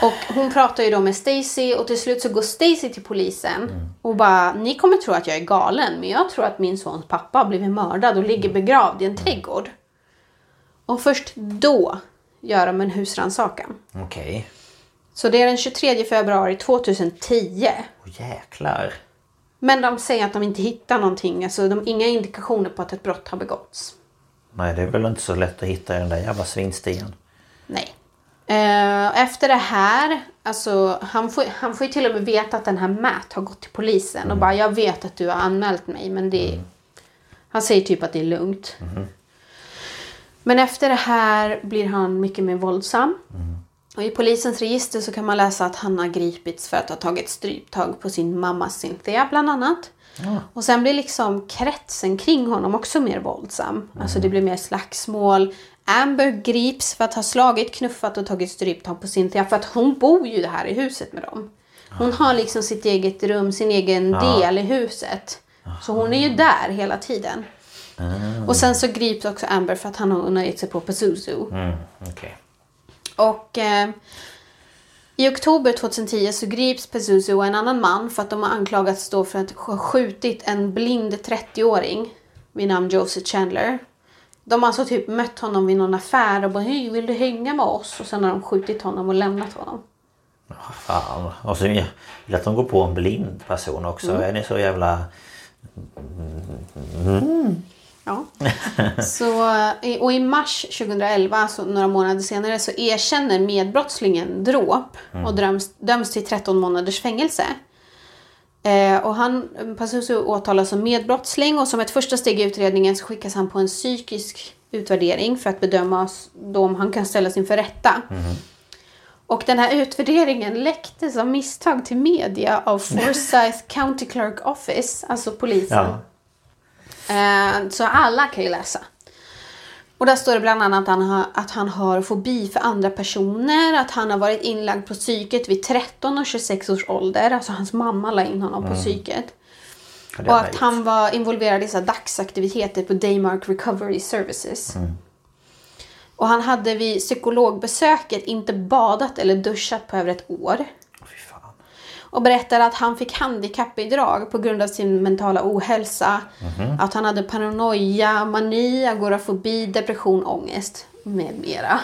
Speaker 2: Och hon pratar ju då med Stacy och till slut så går Stacy till polisen och bara ni kommer tro att jag är galen men jag tror att min sons pappa har blivit mördad och ligger begravd i en trädgård. Och först då gör de en husrannsakan.
Speaker 1: Okej.
Speaker 2: Så det är den 23 februari 2010.
Speaker 1: Åh jäklar.
Speaker 2: Men de säger att de inte hittar någonting, alltså de inga indikationer på att ett brott har begåtts.
Speaker 1: Nej det är väl inte så lätt att hitta i den där jävla svinstigen.
Speaker 2: Nej. Eh, Efter det här, alltså han får, han får ju till och med veta att den här Matt har gått till polisen och bara jag vet att du har anmält mig men det Han säger typ att det är lugnt. Men efter det här blir han mycket mer våldsam. Och i polisens register så kan man läsa att han har gripits för att ha tagit stryptag på sin mamma Cynthia bland annat. Och sen blir liksom kretsen kring honom också mer våldsam. Alltså det blir mer slagsmål. Amber grips för att ha slagit, knuffat och tagit stryptag på Cynthia för att hon bor ju här i huset med dem. Hon har liksom sitt eget rum, sin egen del i huset. Så hon är ju där hela tiden. Och sen så grips också Amber för att han har gett sig på Pazuzu.
Speaker 1: Mm, okej.
Speaker 2: Och eh, i oktober 2010 så grips Pezuzu och en annan man för att de har anklagats då för att ha skjutit en blind 30-åring vid namn Joseph Chandler. De har alltså typ mött honom vid någon affär och bara hej vill du hänga med oss? Och sen har de skjutit honom och lämnat honom.
Speaker 1: Fan. Och så vill jag att de går på en blind person också.
Speaker 2: Mm.
Speaker 1: Är ni så jävla...
Speaker 2: Ja. Så, eh, och i mars 2011, alltså några månader senare, så erkänner medbrottslingen dråp och döms, döms till 13 månaders fängelse. Eh, och han, Pazuzu åtalas som medbrottsling och som ett första steg i utredningen så skickas han på en psykisk utvärdering för att bedöma s- då om han kan ställas inför rätta. Och den här utvärderingen läcktes av misstag till media av Forsyth County Clerk Office, alltså polisen.
Speaker 1: Ja.
Speaker 2: Eh, Så alla kan ju läsa. Och där står det bland annat att han, har, att han har fobi för andra personer, att han har varit inlagd på psyket vid 13 och 26 års ålder. Alltså hans mamma la in honom på psyket.
Speaker 1: Mm. Ja, det
Speaker 2: Och
Speaker 1: har jag
Speaker 2: att
Speaker 1: gjort.
Speaker 2: han var involverad i så här dagsaktiviteter på Daymark Recovery Services.
Speaker 1: Mm.
Speaker 2: Och han hade vid psykologbesöket inte badat eller duschat på över ett år.
Speaker 1: Fy fan.
Speaker 2: Och berättade att han fick handikappbidrag på grund av sin mentala ohälsa. Att han hade paranoia, mani, agorafobi, depression, ångest med mera.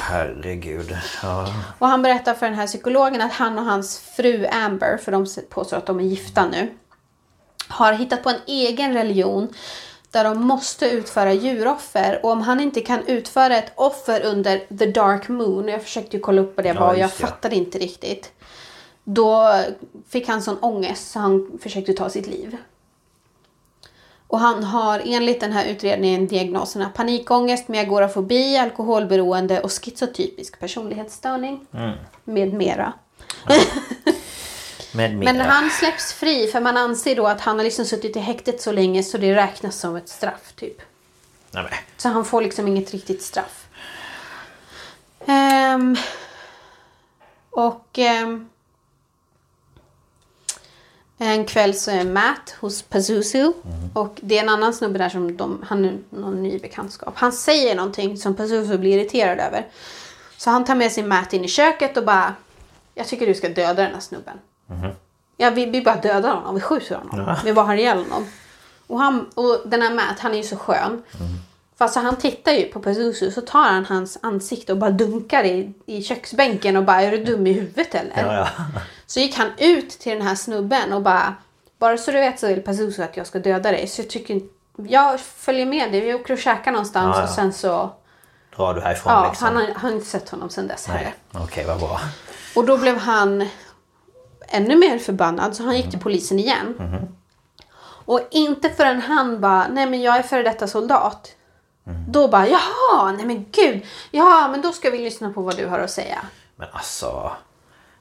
Speaker 1: Herregud. Ja.
Speaker 2: Och han berättar för den här psykologen att han och hans fru Amber, för de påstår att de är gifta nu, har hittat på en egen religion där de måste utföra djuroffer och om han inte kan utföra ett offer under the dark moon, jag försökte ju kolla upp vad det
Speaker 1: Ja,
Speaker 2: var och jag
Speaker 1: just det.
Speaker 2: fattade inte riktigt. Då fick han sån ångest så han försökte ta sitt liv. Och han har enligt den här utredningen diagnoserna panikångest med agorafobi, alkoholberoende och schizotypisk personlighetsstörning. Med mera.
Speaker 1: Med mera.
Speaker 2: Men han släpps fri för man anser då att han har liksom suttit i häktet så länge så det räknas som ett straff typ.
Speaker 1: Nej, men.
Speaker 2: Så han får liksom inget riktigt straff. Ehm, och ehm, en kväll så är Matt hos Pazuzu.
Speaker 1: Mhm.
Speaker 2: Och det är en annan snubbe där som de, han är någon ny bekantskap. Han säger någonting som Pazuzu blir irriterad över. Så han tar med sig Matt in i köket och bara Jag tycker du ska döda den här snubben.
Speaker 1: Mhm.
Speaker 2: Ja, vi, vi bara dödar honom, vi skjuter honom. Vi bara har ihjäl honom. Och, han, och den här Matt, han är ju så skön.
Speaker 1: Mhm.
Speaker 2: Fast så han tittar ju på Pazuzu så tar han hans ansikte och bara dunkar i, i köksbänken och bara är du dum i huvudet eller?
Speaker 1: Ja, ja.
Speaker 2: Så gick han ut till den här snubben och bara bara så du vet så vill Pazuzu att jag ska döda dig. Så jag tycker jag följer med dig, vi åker och käkar någonstans
Speaker 1: Ja, ja.
Speaker 2: och sen så
Speaker 1: Drar du härifrån
Speaker 2: Ja,
Speaker 1: liksom?
Speaker 2: han har, har inte sett honom sen dess heller.
Speaker 1: Nej. Okej, vad bra.
Speaker 2: Och då blev han ännu mer förbannad så han gick
Speaker 1: Mm.
Speaker 2: till polisen igen.
Speaker 1: Mm-hmm.
Speaker 2: Och inte förrän han bara, nej men jag är före detta soldat.
Speaker 1: Mm.
Speaker 2: Då bara, jaha, nej men gud, ja men då ska vi lyssna på vad du har att säga.
Speaker 1: Men alltså...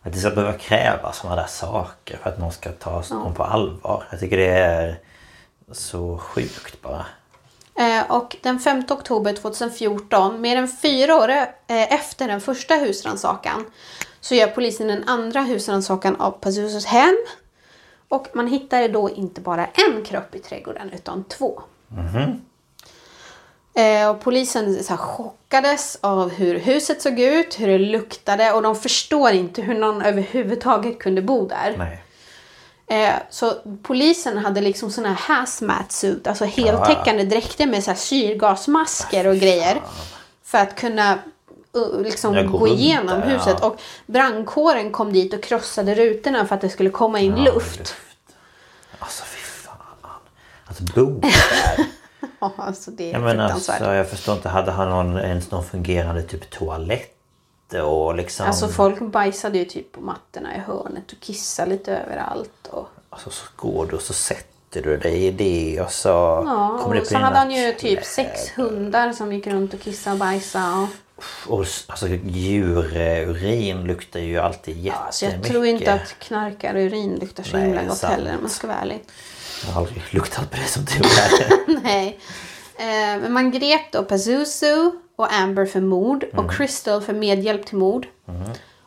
Speaker 1: Att det ska behöva krävas sådana där saker för att någon ska ta någon på allvar. Jag tycker det är Så sjukt bara.
Speaker 2: Eh, Och den 5 oktober 2014, mer än fyra år eh, efter den första husrannsakan, så gör polisen en andra husrannsakan av Pazuzus hem. Och man hittade då inte bara en kropp i trädgården, utan två. Eh, Och polisen så här, chockades av hur huset såg ut, hur det luktade och de förstår inte hur någon överhuvudtaget kunde bo där.
Speaker 1: Nej.
Speaker 2: Eh, så polisen hade liksom såna här hazmat suit, alltså
Speaker 1: Ah.
Speaker 2: heltäckande dräkter med så här syrgasmasker och grejer. För att kunna uh, liksom
Speaker 1: Ja,
Speaker 2: gå,
Speaker 1: gå runt
Speaker 2: igenom
Speaker 1: där,
Speaker 2: huset.
Speaker 1: ja.
Speaker 2: Och brandkåren kom dit och krossade rutorna för att det skulle komma in luft.
Speaker 1: Alltså fy fan. Att bo där.
Speaker 2: (laughs) Ja, alltså det är
Speaker 1: Jag menar alltså,
Speaker 2: fruktansvärt.
Speaker 1: jag förstår inte. Hade han någon, ens någon fungerande typ toalett? Och liksom...
Speaker 2: Alltså folk bajsade ju typ på mattorna i hörnet och kissade lite överallt. Och...
Speaker 1: alltså, så går du och så sätter du dig i det och så...
Speaker 2: Ja,
Speaker 1: kommer det
Speaker 2: och
Speaker 1: på
Speaker 2: så hade
Speaker 1: dina
Speaker 2: han ju
Speaker 1: kläder.
Speaker 2: typ sex hundar som gick runt och kissade och bajsade. Och...
Speaker 1: Och s- alltså djururin luktar ju alltid jättemycket.
Speaker 2: Alltså jag tror inte att knarkarurin luktar så
Speaker 1: Nej,
Speaker 2: himla
Speaker 1: det är
Speaker 2: gott
Speaker 1: sant.
Speaker 2: heller om man ska vara ärlig. (laughs)
Speaker 1: Jag har aldrig luktat på det som du är. (laughs)
Speaker 2: Nej. Eh, men man grep då Pazuzu och Amber för mord
Speaker 1: Mm.
Speaker 2: och Crystal för medhjälp till mord.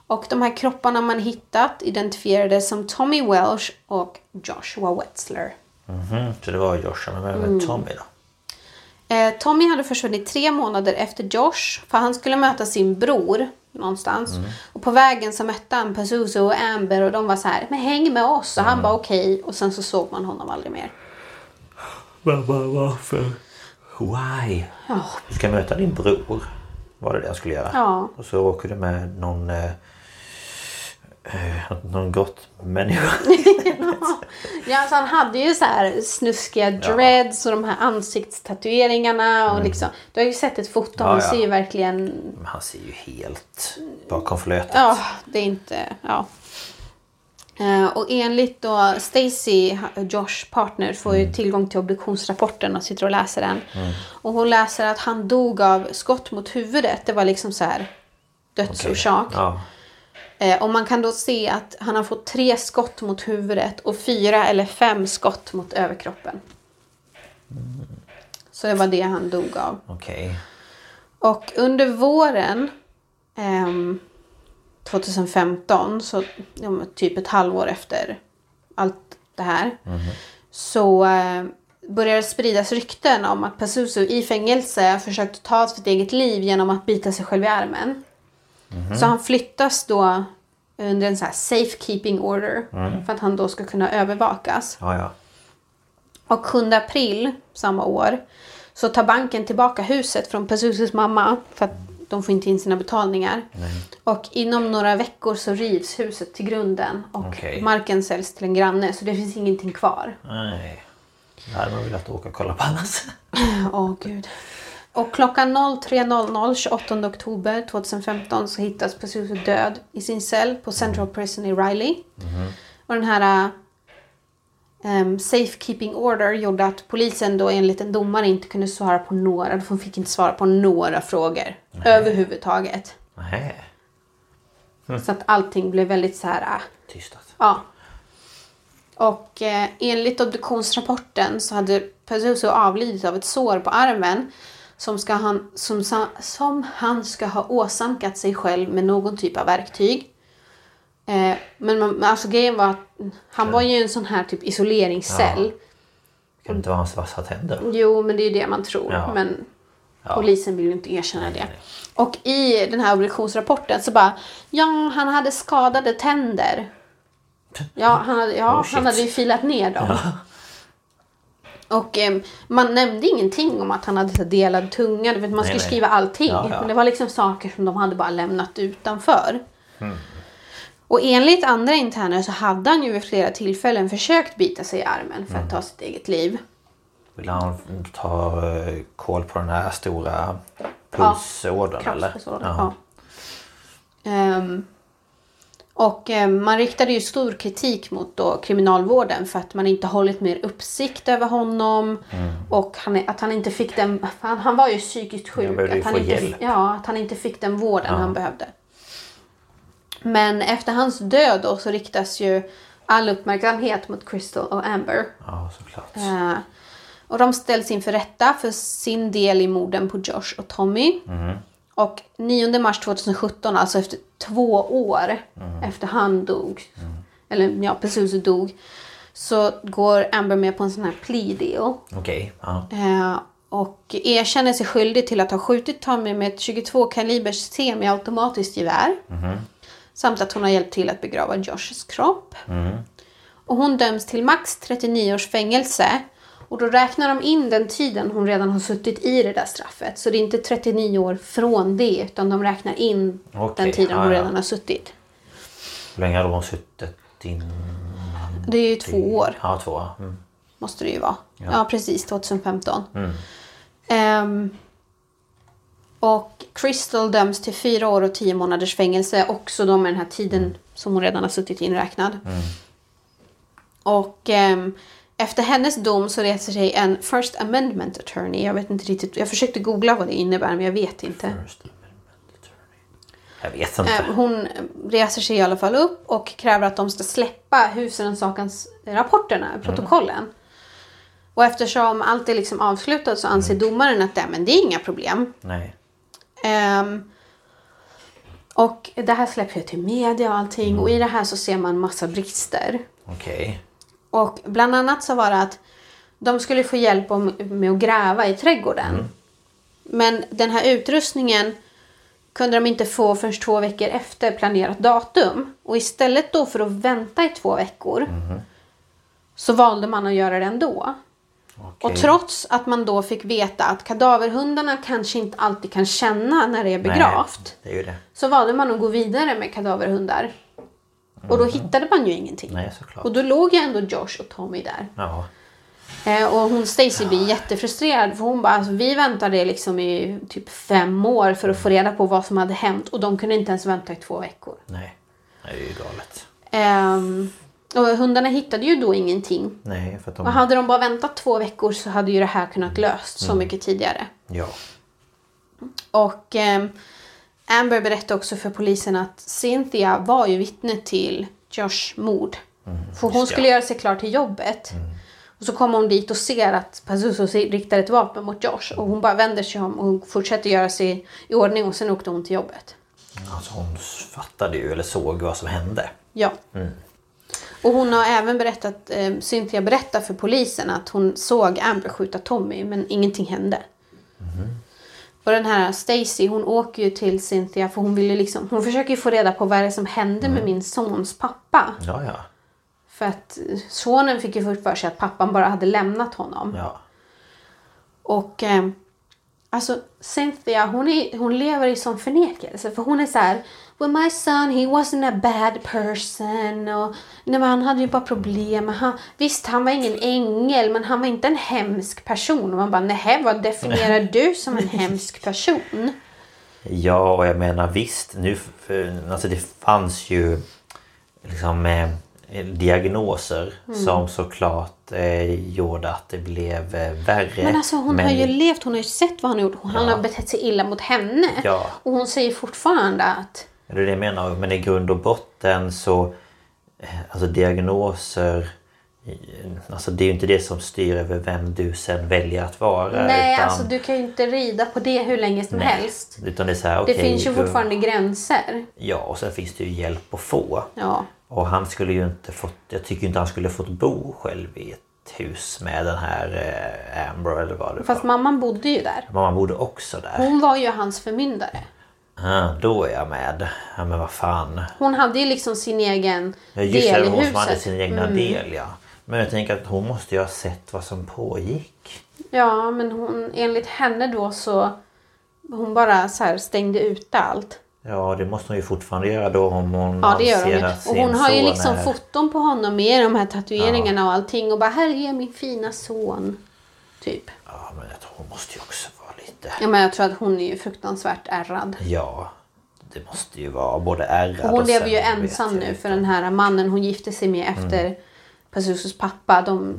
Speaker 2: Och de här kropparna man hittat identifierades som Tommy Welsh och Joshua Wetzler.
Speaker 1: Mhm, Så det var Joshua, men
Speaker 2: Mm.
Speaker 1: vem är Tommy då?
Speaker 2: Eh, Tommy hade försvunnit tre månader efter Josh för han skulle möta sin bror någonstans.
Speaker 1: Mm.
Speaker 2: Och på vägen så mötte han Pazuzu och Amber och de var så här, men häng med oss. Och han
Speaker 1: Mm.
Speaker 2: bara okej och sen så såg man honom aldrig mer.
Speaker 1: varför? Why?
Speaker 2: Ja,
Speaker 1: Du ska möta din bror. Var det det jag skulle göra?
Speaker 2: Ja.
Speaker 1: Och så åker du med någon... Eh, eh, någon gott
Speaker 2: (laughs)
Speaker 1: människa.
Speaker 2: Ja, alltså han hade ju så här snuskiga dreads och de här ansiktstatueringarna. Och liksom, du har ju sett ett foto, han
Speaker 1: Mm. Ja, ja.
Speaker 2: ser ju verkligen...
Speaker 1: Men han ser ju helt bakom flötet.
Speaker 2: Ja, det är inte... Ja. Eh, Och enligt då Stacy, Josh partner, får
Speaker 1: Mm.
Speaker 2: ju tillgång till obduktionsrapporten och sitter och läser den. Och hon läser att han dog av skott mot huvudet. Det var liksom så här
Speaker 1: Okej.
Speaker 2: dödsorsak.
Speaker 1: Ja.
Speaker 2: Eh, Och man kan då se att han har fått tre skott mot huvudet och fyra eller fem skott mot överkroppen. Så det var det han dog av.
Speaker 1: Okej.
Speaker 2: Och under våren ehm, 2015, så ja, men typ ett halvår efter allt det här, så eh, började det spridas rykten om att Pazuzu i fängelse försökte ta sitt eget liv genom att bita sig själv i armen. Så han flyttas då under en så här safekeeping order för att han då ska kunna övervakas.
Speaker 1: Ja, ja.
Speaker 2: Och 7 april samma år så tar banken tillbaka huset från Pazuzus mamma för att de får inte in sina betalningar. Och inom några veckor så rivs huset till grunden och
Speaker 1: Okej.
Speaker 2: marken säljs till en granne så det finns ingenting kvar.
Speaker 1: Nej. Då hade man velat åka och kolla på annars.
Speaker 2: Åh gud. Och klockan 03.00 28 oktober 2015 så hittas Pazuzu död i sin cell på Central Prison i Riley. Och den här um, safekeeping order gjorde att polisen då enligt en domare inte kunde svara på några, de fick inte svara på några frågor överhuvudtaget.
Speaker 1: (laughs) Nej.
Speaker 2: Så att allting blev väldigt så här ah,
Speaker 1: Tystat.
Speaker 2: Ja. Och eh, enligt obduktionsrapporten så hade Pazuzu avlidit av ett sår på armen som, ska han, som, sa- som han ska ha åsamkat sig själv med någon typ av verktyg. Eh, men man, men alltså grejen var att han var ju i en sån här typ isoleringscell.
Speaker 1: Kan det inte vara hans vassa tänder?
Speaker 2: Mm. Jo, men det är ju det man tror.
Speaker 1: Ja.
Speaker 2: Men polisen vill ju inte erkänna det. Och i den här obduktionsrapporten så bara, ja, han hade skadade tänder. Ja, han hade, ja,
Speaker 1: Oh, shit.
Speaker 2: han hade ju filat ner dem. Och em, man nämnde ingenting om att han hade så här delad tunga. Du vet, man
Speaker 1: Nej,
Speaker 2: skulle
Speaker 1: nej.
Speaker 2: skriva allting.
Speaker 1: Ja, ja.
Speaker 2: Men det var liksom saker som de hade bara lämnat utanför.
Speaker 1: Mm.
Speaker 2: Och enligt andra interner så hade han ju vid flera tillfällen försökt bita sig i armen för
Speaker 1: Mm.
Speaker 2: att ta sitt eget liv.
Speaker 1: Vill han ta eh, koll på den här stora pulsådern eller?
Speaker 2: Kroppsbesvårad, ja. Ehm, och ehm, man riktade ju stor kritik mot då kriminalvården för att man inte hållit mer uppsikt över honom.
Speaker 1: Mm.
Speaker 2: Och han, är- att han inte fick den, han, han var ju psykiskt
Speaker 1: Han
Speaker 2: sjuk.
Speaker 1: behövde ju
Speaker 2: att han,
Speaker 1: få
Speaker 2: inte,
Speaker 1: hjälp.
Speaker 2: ja, att han inte fick den vården han behövde. Men efter hans död då, så riktas ju all uppmärksamhet mot Crystal och Amber.
Speaker 1: Ja, såklart.
Speaker 2: Eh, Och de ställs inför rätta för sin del i morden på Josh och Tommy. Och 9 mars 2017, alltså efter två år efter han dog, eller ja, Pesuso dog, så går Amber med på en sån här plea deal.
Speaker 1: Okej, ja.
Speaker 2: Eh, och erkänner sig skyldig till att ha skjutit Tommy med ett 22-kalibers semiautomatiskt gevär.
Speaker 1: Mhm.
Speaker 2: Samt att hon har hjälpt till att begrava Joshs kropp.
Speaker 1: Mhm.
Speaker 2: Och hon döms till max 39 års fängelse. Och då räknar de in den tiden hon redan har suttit i det där straffet. Så det är inte 39 år från det, utan de räknar in
Speaker 1: Okej,
Speaker 2: den tiden hon
Speaker 1: ja, ja.
Speaker 2: redan har suttit.
Speaker 1: Hur länge hade hon suttit in?
Speaker 2: Det är ju två år.
Speaker 1: Ja, två år. Mm.
Speaker 2: måste det ju vara. Ja, precis. 2015. Ehm, och Crystal döms till fyra år och tio månaders fängelse. Också då med den här tiden som hon redan har suttit inräknad. Och ehm, efter hennes dom så reser sig en First Amendment Attorney. Jag vet inte riktigt. Jag försökte googla vad det innebär men jag vet inte.
Speaker 1: First Amendment Attorney. Jag vet inte.
Speaker 2: Eh, Hon reser sig i alla fall upp och kräver att de ska släppa husrannsakans-rapporterna, protokollen. Och eftersom allt är liksom avslutat så anser domaren att "Nej, men det är inga problem.
Speaker 1: Nej.
Speaker 2: Ehm, och det här släpps ju till media och allting och i det här så ser man massa brister.
Speaker 1: Okej.
Speaker 2: Och bland annat så var det att de skulle få hjälp om, med att gräva i trädgården.
Speaker 1: Mm.
Speaker 2: Men den här utrustningen kunde de inte få förrän två veckor efter planerat datum. Och istället då för att vänta i två veckor
Speaker 1: Mm-hmm.
Speaker 2: så valde man att göra det ändå.
Speaker 1: Okej.
Speaker 2: Och trots att man då fick veta att kadaverhundarna kanske inte alltid kan känna när det är begravt
Speaker 1: Nej, det är ju det.
Speaker 2: så valde man att gå vidare med kadaverhundar. Och då hittade man ju ingenting.
Speaker 1: Mm-hmm. Nej, såklart.
Speaker 2: Och då låg ju ändå Josh och Tommy där.
Speaker 1: Ja.
Speaker 2: Eh, och hon Stacy blir jättefrustrerad för hon bara, alltså, vi väntade liksom i typ fem år för att få reda på vad som hade hänt och de kunde inte ens vänta i två veckor.
Speaker 1: Nej. Nej, det är ju galet.
Speaker 2: Ehm, och hundarna hittade ju då ingenting.
Speaker 1: Nej, för att de...
Speaker 2: Och hade de bara väntat två veckor så hade ju det här kunnat löst så mycket tidigare.
Speaker 1: Ja.
Speaker 2: Och ehm, Amber berättade också för polisen att Cynthia var ju vittne till Josh mord. för hon skulle göra sig klar till jobbet. Och så kommer hon dit och ser att Pazuzu riktar ett vapen mot Josh. Och hon bara vänder sig om och fortsätter göra sig i ordning och sen åkte hon till jobbet.
Speaker 1: Alltså hon fattade ju eller såg vad som hände.
Speaker 2: Ja. Och hon har även berättat, eh, Cynthia berättar för polisen att hon såg Amber skjuta Tommy men ingenting hände. Och den här Stacy hon åker ju till Cynthia för hon vill ju liksom, hon försöker ju få reda på vad det är som hände med min sons pappa.
Speaker 1: Ja, ja.
Speaker 2: För att eh, sonen fick ju först för sig att pappan bara hade lämnat honom.
Speaker 1: Ja.
Speaker 2: Och eh, alltså Cynthia hon, är, hon lever i sån förnekelse för hon är så här Well my son he wasn't a bad person och nej, men han hade ju bara problem. Han, visst han var ingen ängel men han var inte en hemsk person. Och man bara nej
Speaker 1: (laughs)
Speaker 2: vad definierar du som en hemsk person?
Speaker 1: Ja, och jag menar visst, nu, för- alltså det fanns ju liksom eh, diagnoser
Speaker 2: Mm.
Speaker 1: som såklart eh, gjorde att det blev eh, värre.
Speaker 2: Men alltså hon
Speaker 1: Men-
Speaker 2: har ju levt, hon har ju sett vad han har gjort. Han har betett sig illa mot henne.
Speaker 1: Ja.
Speaker 2: Och hon säger fortfarande att
Speaker 1: Det är det jag menar, men i grund och botten så... eh, Alltså diagnoser... eh, Alltså det är ju inte det som styr över vem du sen väljer att vara.
Speaker 2: nej
Speaker 1: utan,
Speaker 2: alltså du kan ju inte rida på det hur länge som helst.
Speaker 1: Utan det är så här,
Speaker 2: Det
Speaker 1: okej,
Speaker 2: finns ju
Speaker 1: du-
Speaker 2: fortfarande gränser.
Speaker 1: Ja, och sen finns det ju hjälp att få.
Speaker 2: Ja.
Speaker 1: Och han skulle ju inte fått... Jag tycker ju inte han skulle fått bo själv i ett hus med den här eh, Amber eller vad det
Speaker 2: Fast
Speaker 1: var.
Speaker 2: mamman bodde ju där.
Speaker 1: Mamma bodde också där.
Speaker 2: Hon var ju hans förmyndare.
Speaker 1: Ah, då är jag med. Ja, men vad fan.
Speaker 2: Hon hade ju liksom sin egen
Speaker 1: Ja, just
Speaker 2: del
Speaker 1: det,
Speaker 2: i
Speaker 1: hon som hade
Speaker 2: huset.
Speaker 1: sin egna del ja. Men jag tänker att hon måste ju ha sett vad som pågick.
Speaker 2: Ja, men hon, enligt henne då så... Hon bara så här stängde ute allt.
Speaker 1: Ja, det måste hon ju fortfarande göra då om hon
Speaker 2: Ja, det gör hon ju.
Speaker 1: avser att
Speaker 2: Och
Speaker 1: sin
Speaker 2: hon har ju
Speaker 1: son
Speaker 2: liksom
Speaker 1: är-
Speaker 2: foton på honom med de här tatueringarna och allting. Och bara, här är min fina son. Typ.
Speaker 1: Ja, men jag tror hon måste ju också vara lite...
Speaker 2: Ja, men jag tror att hon är ju fruktansvärt ärrad.
Speaker 1: Ja, det måste ju vara både ärrad
Speaker 2: Och hon lever ju
Speaker 1: sen vet
Speaker 2: ensam
Speaker 1: jag
Speaker 2: nu
Speaker 1: inte. Mm.
Speaker 2: för den här mannen hon gifte sig med efter Pazuzus pappa. De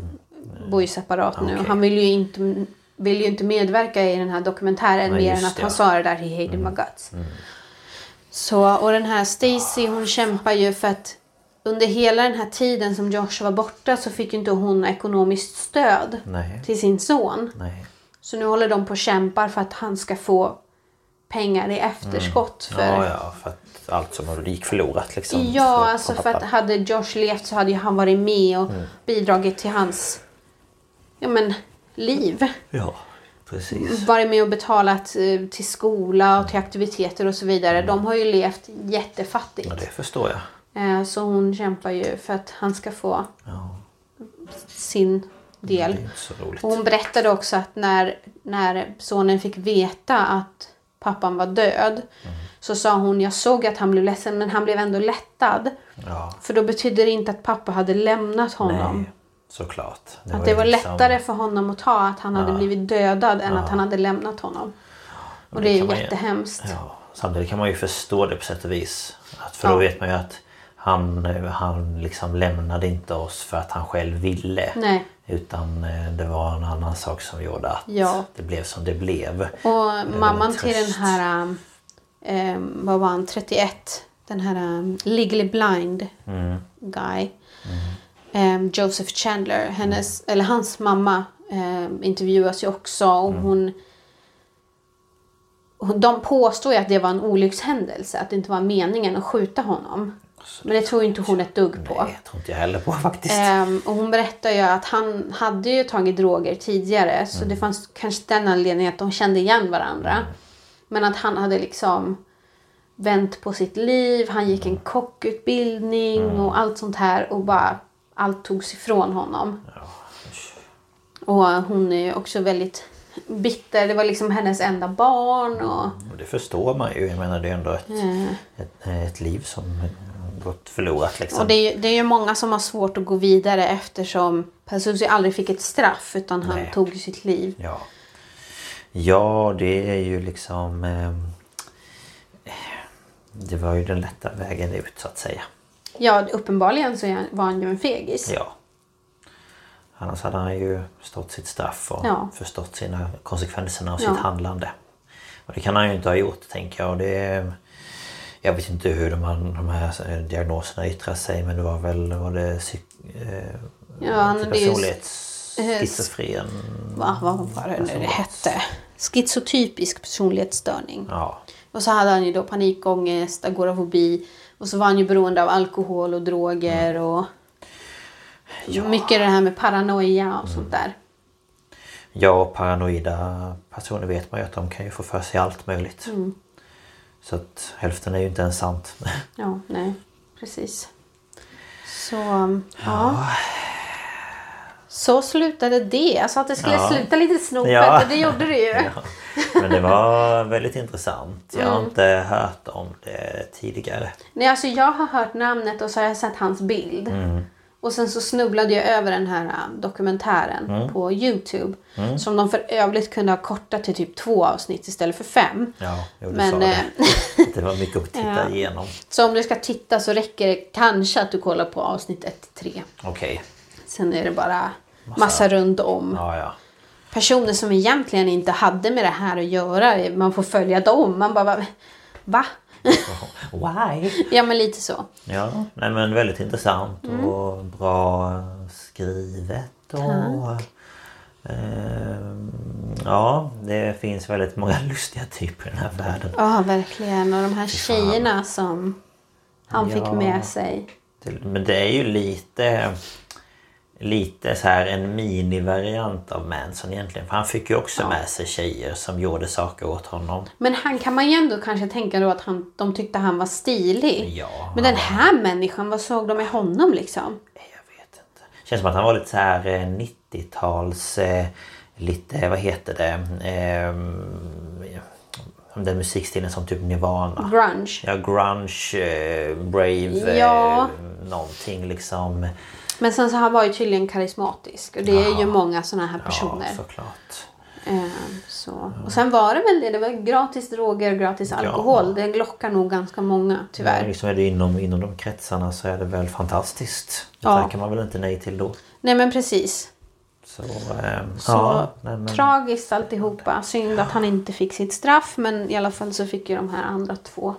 Speaker 2: bor ju separat nu.
Speaker 1: Okej.
Speaker 2: Han vill ju, inte, vill ju inte medverka i den här dokumentären
Speaker 1: Nej,
Speaker 2: mer
Speaker 1: just
Speaker 2: än att
Speaker 1: det,
Speaker 2: han
Speaker 1: ja. Mm.
Speaker 2: sa det där He hated my guts. Så, och den här Stacy hon kämpar ju för att under hela den här tiden som Josh var borta så fick ju inte hon ekonomiskt stöd
Speaker 1: Nej.
Speaker 2: till sin son.
Speaker 1: Nej.
Speaker 2: Så nu håller de på och kämpar för att han ska få pengar i efterskott. För...
Speaker 1: Mm. Ja, ja, för att allt som gick förlorat liksom.
Speaker 2: Ja,
Speaker 1: För-
Speaker 2: alltså
Speaker 1: från
Speaker 2: för att
Speaker 1: pappa.
Speaker 2: hade Josh levt så hade ju han varit med och
Speaker 1: Mm.
Speaker 2: bidragit till hans ja, men, liv.
Speaker 1: Ja, precis.
Speaker 2: Varit med och betalat eh, till skola och till aktiviteter och så vidare. De har ju levt jättefattigt.
Speaker 1: Ja, det förstår jag.
Speaker 2: Eh, Så hon kämpar ju för att han ska få
Speaker 1: Ja,
Speaker 2: sin
Speaker 1: det
Speaker 2: del.
Speaker 1: är inte så roligt.
Speaker 2: Och hon berättade också att när, när sonen fick veta att pappan var död
Speaker 1: Mm.
Speaker 2: så sa hon jag såg att han blev ledsen men han blev ändå lättad.
Speaker 1: Ja,
Speaker 2: För då betyder det inte att pappa hade lämnat honom.
Speaker 1: nej. Såklart.
Speaker 2: Att det
Speaker 1: ju
Speaker 2: var
Speaker 1: liksom-
Speaker 2: lättare för honom att ta att han hade blivit dödad än att han hade lämnat honom. Och det är
Speaker 1: kan
Speaker 2: ju
Speaker 1: man
Speaker 2: jättehemskt.
Speaker 1: Ja, samtidigt kan man ju förstå det på sätt och vis. Att för då
Speaker 2: Ja.
Speaker 1: vet man ju att han, eh, han liksom lämnade inte oss för att han själv ville.
Speaker 2: Nej.
Speaker 1: Utan eh, det var en annan sak som gjorde att
Speaker 2: Ja.
Speaker 1: det blev som det blev. Eh,
Speaker 2: Och mamman
Speaker 1: väldigt
Speaker 2: till den
Speaker 1: trist.
Speaker 2: här, um, um, vad var han, 31, den här um, legally blind guy, um, Joseph Chandler, hennes, eller hans mamma um, intervjuas ju också och hon hon- de påstår ju att det var en olyckshändelse, att det inte var meningen att skjuta honom. Men det tror ju inte hon ett dugg på.
Speaker 1: Nej, jag tror inte jag heller på (laughs) faktiskt.
Speaker 2: Ehm, och hon berättar ju att han hade ju tagit droger tidigare.
Speaker 1: Mm.
Speaker 2: Så det fanns kanske den anledningen att de kände igen varandra. Men att han hade liksom vänt på sitt liv. Han gick en kockutbildning
Speaker 1: Mm.
Speaker 2: och allt sånt här. Och bara allt togs ifrån honom. Och hon är ju också väldigt bitter. Det var liksom hennes enda barn. Och,
Speaker 1: Och det förstår man ju. Jag menar det är ändå ett, ett, ett liv som gått förlorat liksom.
Speaker 2: Eh. Och det är, ju, det är ju många som har svårt att gå vidare eftersom Pazuzu aldrig fick ett straff utan han
Speaker 1: Nej.
Speaker 2: tog sitt liv.
Speaker 1: Ja. ja, det är ju liksom... Eh, det var ju den lätta vägen ut så att säga.
Speaker 2: Ja, uppenbarligen så är han- var han ju en fegis.
Speaker 1: Ja. Annars hade han ju förstått sitt straff och
Speaker 2: Ja.
Speaker 1: förstått sina konsekvenserna av
Speaker 2: Ja.
Speaker 1: sitt handlande. Och det kan han ju inte ha gjort tänker jag. Och det, jag vet inte hur de, här- de här eh, diagnoserna yttrar sig men det var väl var det psyk, eh,
Speaker 2: Ja, han hade ju-
Speaker 1: personlighetsschizofren.
Speaker 2: Va, vad var det nu det hette? Schizotypisk personlighetsstörning.
Speaker 1: Ja.
Speaker 2: Och så hade han ju då panikångest, agorafobi och så var han ju beroende av alkohol och droger
Speaker 1: Mm.
Speaker 2: och mycket det här med paranoia och
Speaker 1: Mm.
Speaker 2: sånt där.
Speaker 1: Ja, och paranoida personer vet man ju att de kan ju få för sig allt möjligt.
Speaker 2: Mm.
Speaker 1: Så att hälften är ju inte ens sant. (laughs)
Speaker 2: Ja, nej, precis. Så, um, ja. Så slutade det. Jag sa att det skulle
Speaker 1: Ja.
Speaker 2: sluta lite snopet
Speaker 1: Ja.
Speaker 2: och det gjorde det ju.
Speaker 1: (laughs) Ja. Men det var väldigt intressant. Jag har
Speaker 2: Mm.
Speaker 1: inte hört om det tidigare.
Speaker 2: Nej, alltså jag har hört namnet och så har jag sett hans bild.
Speaker 1: Mm.
Speaker 2: Och sen så snubblade jag över den här äh, dokumentären
Speaker 1: Mm.
Speaker 2: på Youtube. Som de för övrigt kunde ha kortat till typ två avsnitt istället för fem.
Speaker 1: Ja, jo, du
Speaker 2: Men,
Speaker 1: sa
Speaker 2: eh,
Speaker 1: det. Att (laughs) det var mycket att titta
Speaker 2: (laughs)
Speaker 1: igenom.
Speaker 2: Så om du ska titta så räcker det kanske att du kollar på avsnitt 1 till 3.
Speaker 1: Okej.
Speaker 2: Sen är det bara massa runt om.
Speaker 1: Ja, ja.
Speaker 2: Personer som egentligen inte hade med det här att göra. Man får följa dem. Man bara, va? va? (laughs)
Speaker 1: Why?
Speaker 2: ja men lite så.
Speaker 1: Ja, nej, men väldigt intressant
Speaker 2: Mm.
Speaker 1: och bra skrivet. Och, ehm, ja, det finns väldigt många (laughs) lustiga typer i den här världen.
Speaker 2: Ja, verkligen. Och de här tjejerna som han fick
Speaker 1: Ja.
Speaker 2: med sig.
Speaker 1: Till- Men det är ju lite Lite så här en minivariant av Manson egentligen. För han fick ju också med sig tjejer som gjorde saker åt honom.
Speaker 2: Men han kan man ju ändå kanske tänka då att han, de tyckte han var stilig.
Speaker 1: Ja,
Speaker 2: Men den här människan, vad såg de i honom liksom?
Speaker 1: Jag vet inte. Känns som att han var lite så här eh, 90-tals... Eh, lite, vad heter det? Eh, den musikstilen som typ Nirvana.
Speaker 2: Grunge.
Speaker 1: Ja, grunge, eh, brave,
Speaker 2: Ja.
Speaker 1: eh, någonting liksom.
Speaker 2: Men sen så han var ju tydligen karismatisk. Och det är ju många sådana här
Speaker 1: Ja,
Speaker 2: personer.
Speaker 1: såklart.
Speaker 2: Ehm, så. Och sen var det väl det, det var gratis droger och gratis alkohol. Det lockar nog ganska många
Speaker 1: Ja,
Speaker 2: tyvärr.
Speaker 1: liksom är det inom, inom de kretsarna så är det väl fantastiskt. Det
Speaker 2: Ja.
Speaker 1: tackar man väl inte nej till då.
Speaker 2: Nej men precis.
Speaker 1: Så, ehm,
Speaker 2: Så
Speaker 1: ja, nej, men,
Speaker 2: tragiskt alltihopa. Synd att han inte
Speaker 1: Mm.
Speaker 2: fick sitt straff men i alla fall så fick ju de här andra två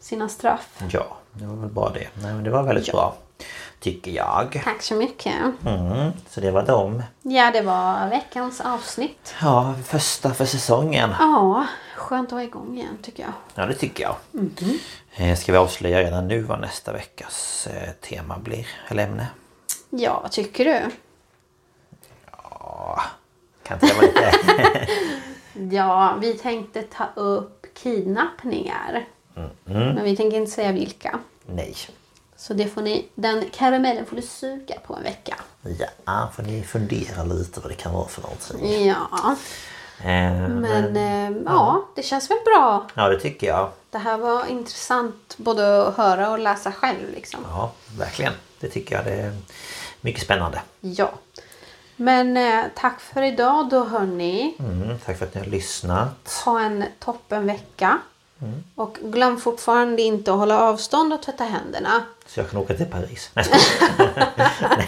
Speaker 2: sina straff.
Speaker 1: ja, Det var väl bara det. Nej, men det var väldigt bra. Tycker jag.
Speaker 2: Tack så mycket.
Speaker 1: Mm, så det var dem.
Speaker 2: Ja, det var veckans avsnitt.
Speaker 1: Ja, första för säsongen.
Speaker 2: Ja, skönt att vara igång igen tycker jag.
Speaker 1: Ja, det tycker jag.
Speaker 2: Mhm.
Speaker 1: Eh, Ska vi avslöja redan nu vad nästa veckas eh, tema blir? Eller ämne?
Speaker 2: Ja, vad tycker du?
Speaker 1: Kan inte det vara
Speaker 2: (laughs)
Speaker 1: lite...
Speaker 2: Ja, vi tänkte ta upp kidnappningar.
Speaker 1: Mm.
Speaker 2: Men vi tänker inte säga vilka.
Speaker 1: Nej.
Speaker 2: Så det får ni, den karamellen får du suga på en vecka.
Speaker 1: Ja, får ni fundera lite vad det kan vara för någonting.
Speaker 2: Ja,
Speaker 1: Eh,
Speaker 2: Mm, men eh, ja, det känns väl bra.
Speaker 1: Ja, det tycker jag.
Speaker 2: Det här var intressant både att höra och läsa själv. Liksom.
Speaker 1: Ja, verkligen. Det tycker jag. Det är mycket spännande.
Speaker 2: Ja. Men eh, tack för idag då hörni.
Speaker 1: Mm, tack för att ni har lyssnat.
Speaker 2: Ha en toppen vecka. Och glöm fortfarande inte att hålla avstånd och tvätta händerna.
Speaker 1: Så jag kan åka till Paris. Nej, jag skojar.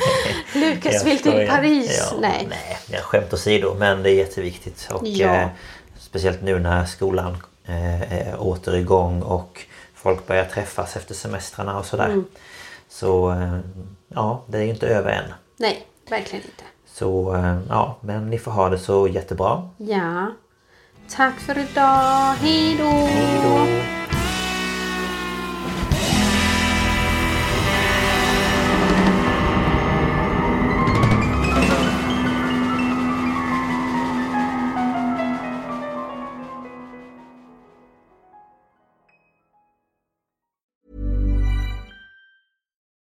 Speaker 2: Lukas vill till Paris.
Speaker 1: Ja,
Speaker 2: Nej.
Speaker 1: nej, jag skämt åsido. Men det är jätteviktigt. Och,
Speaker 2: Ja.
Speaker 1: eh, speciellt nu när skolan eh, är åter igång och folk börjar träffas efter semestrarna och sådär.
Speaker 2: Mm.
Speaker 1: Så eh, ja, det är ju inte över än.
Speaker 2: Nej, verkligen inte.
Speaker 1: Så eh, ja, men ni får ha det så jättebra.
Speaker 2: Ja. Tack för idag. Hej då. Hej då.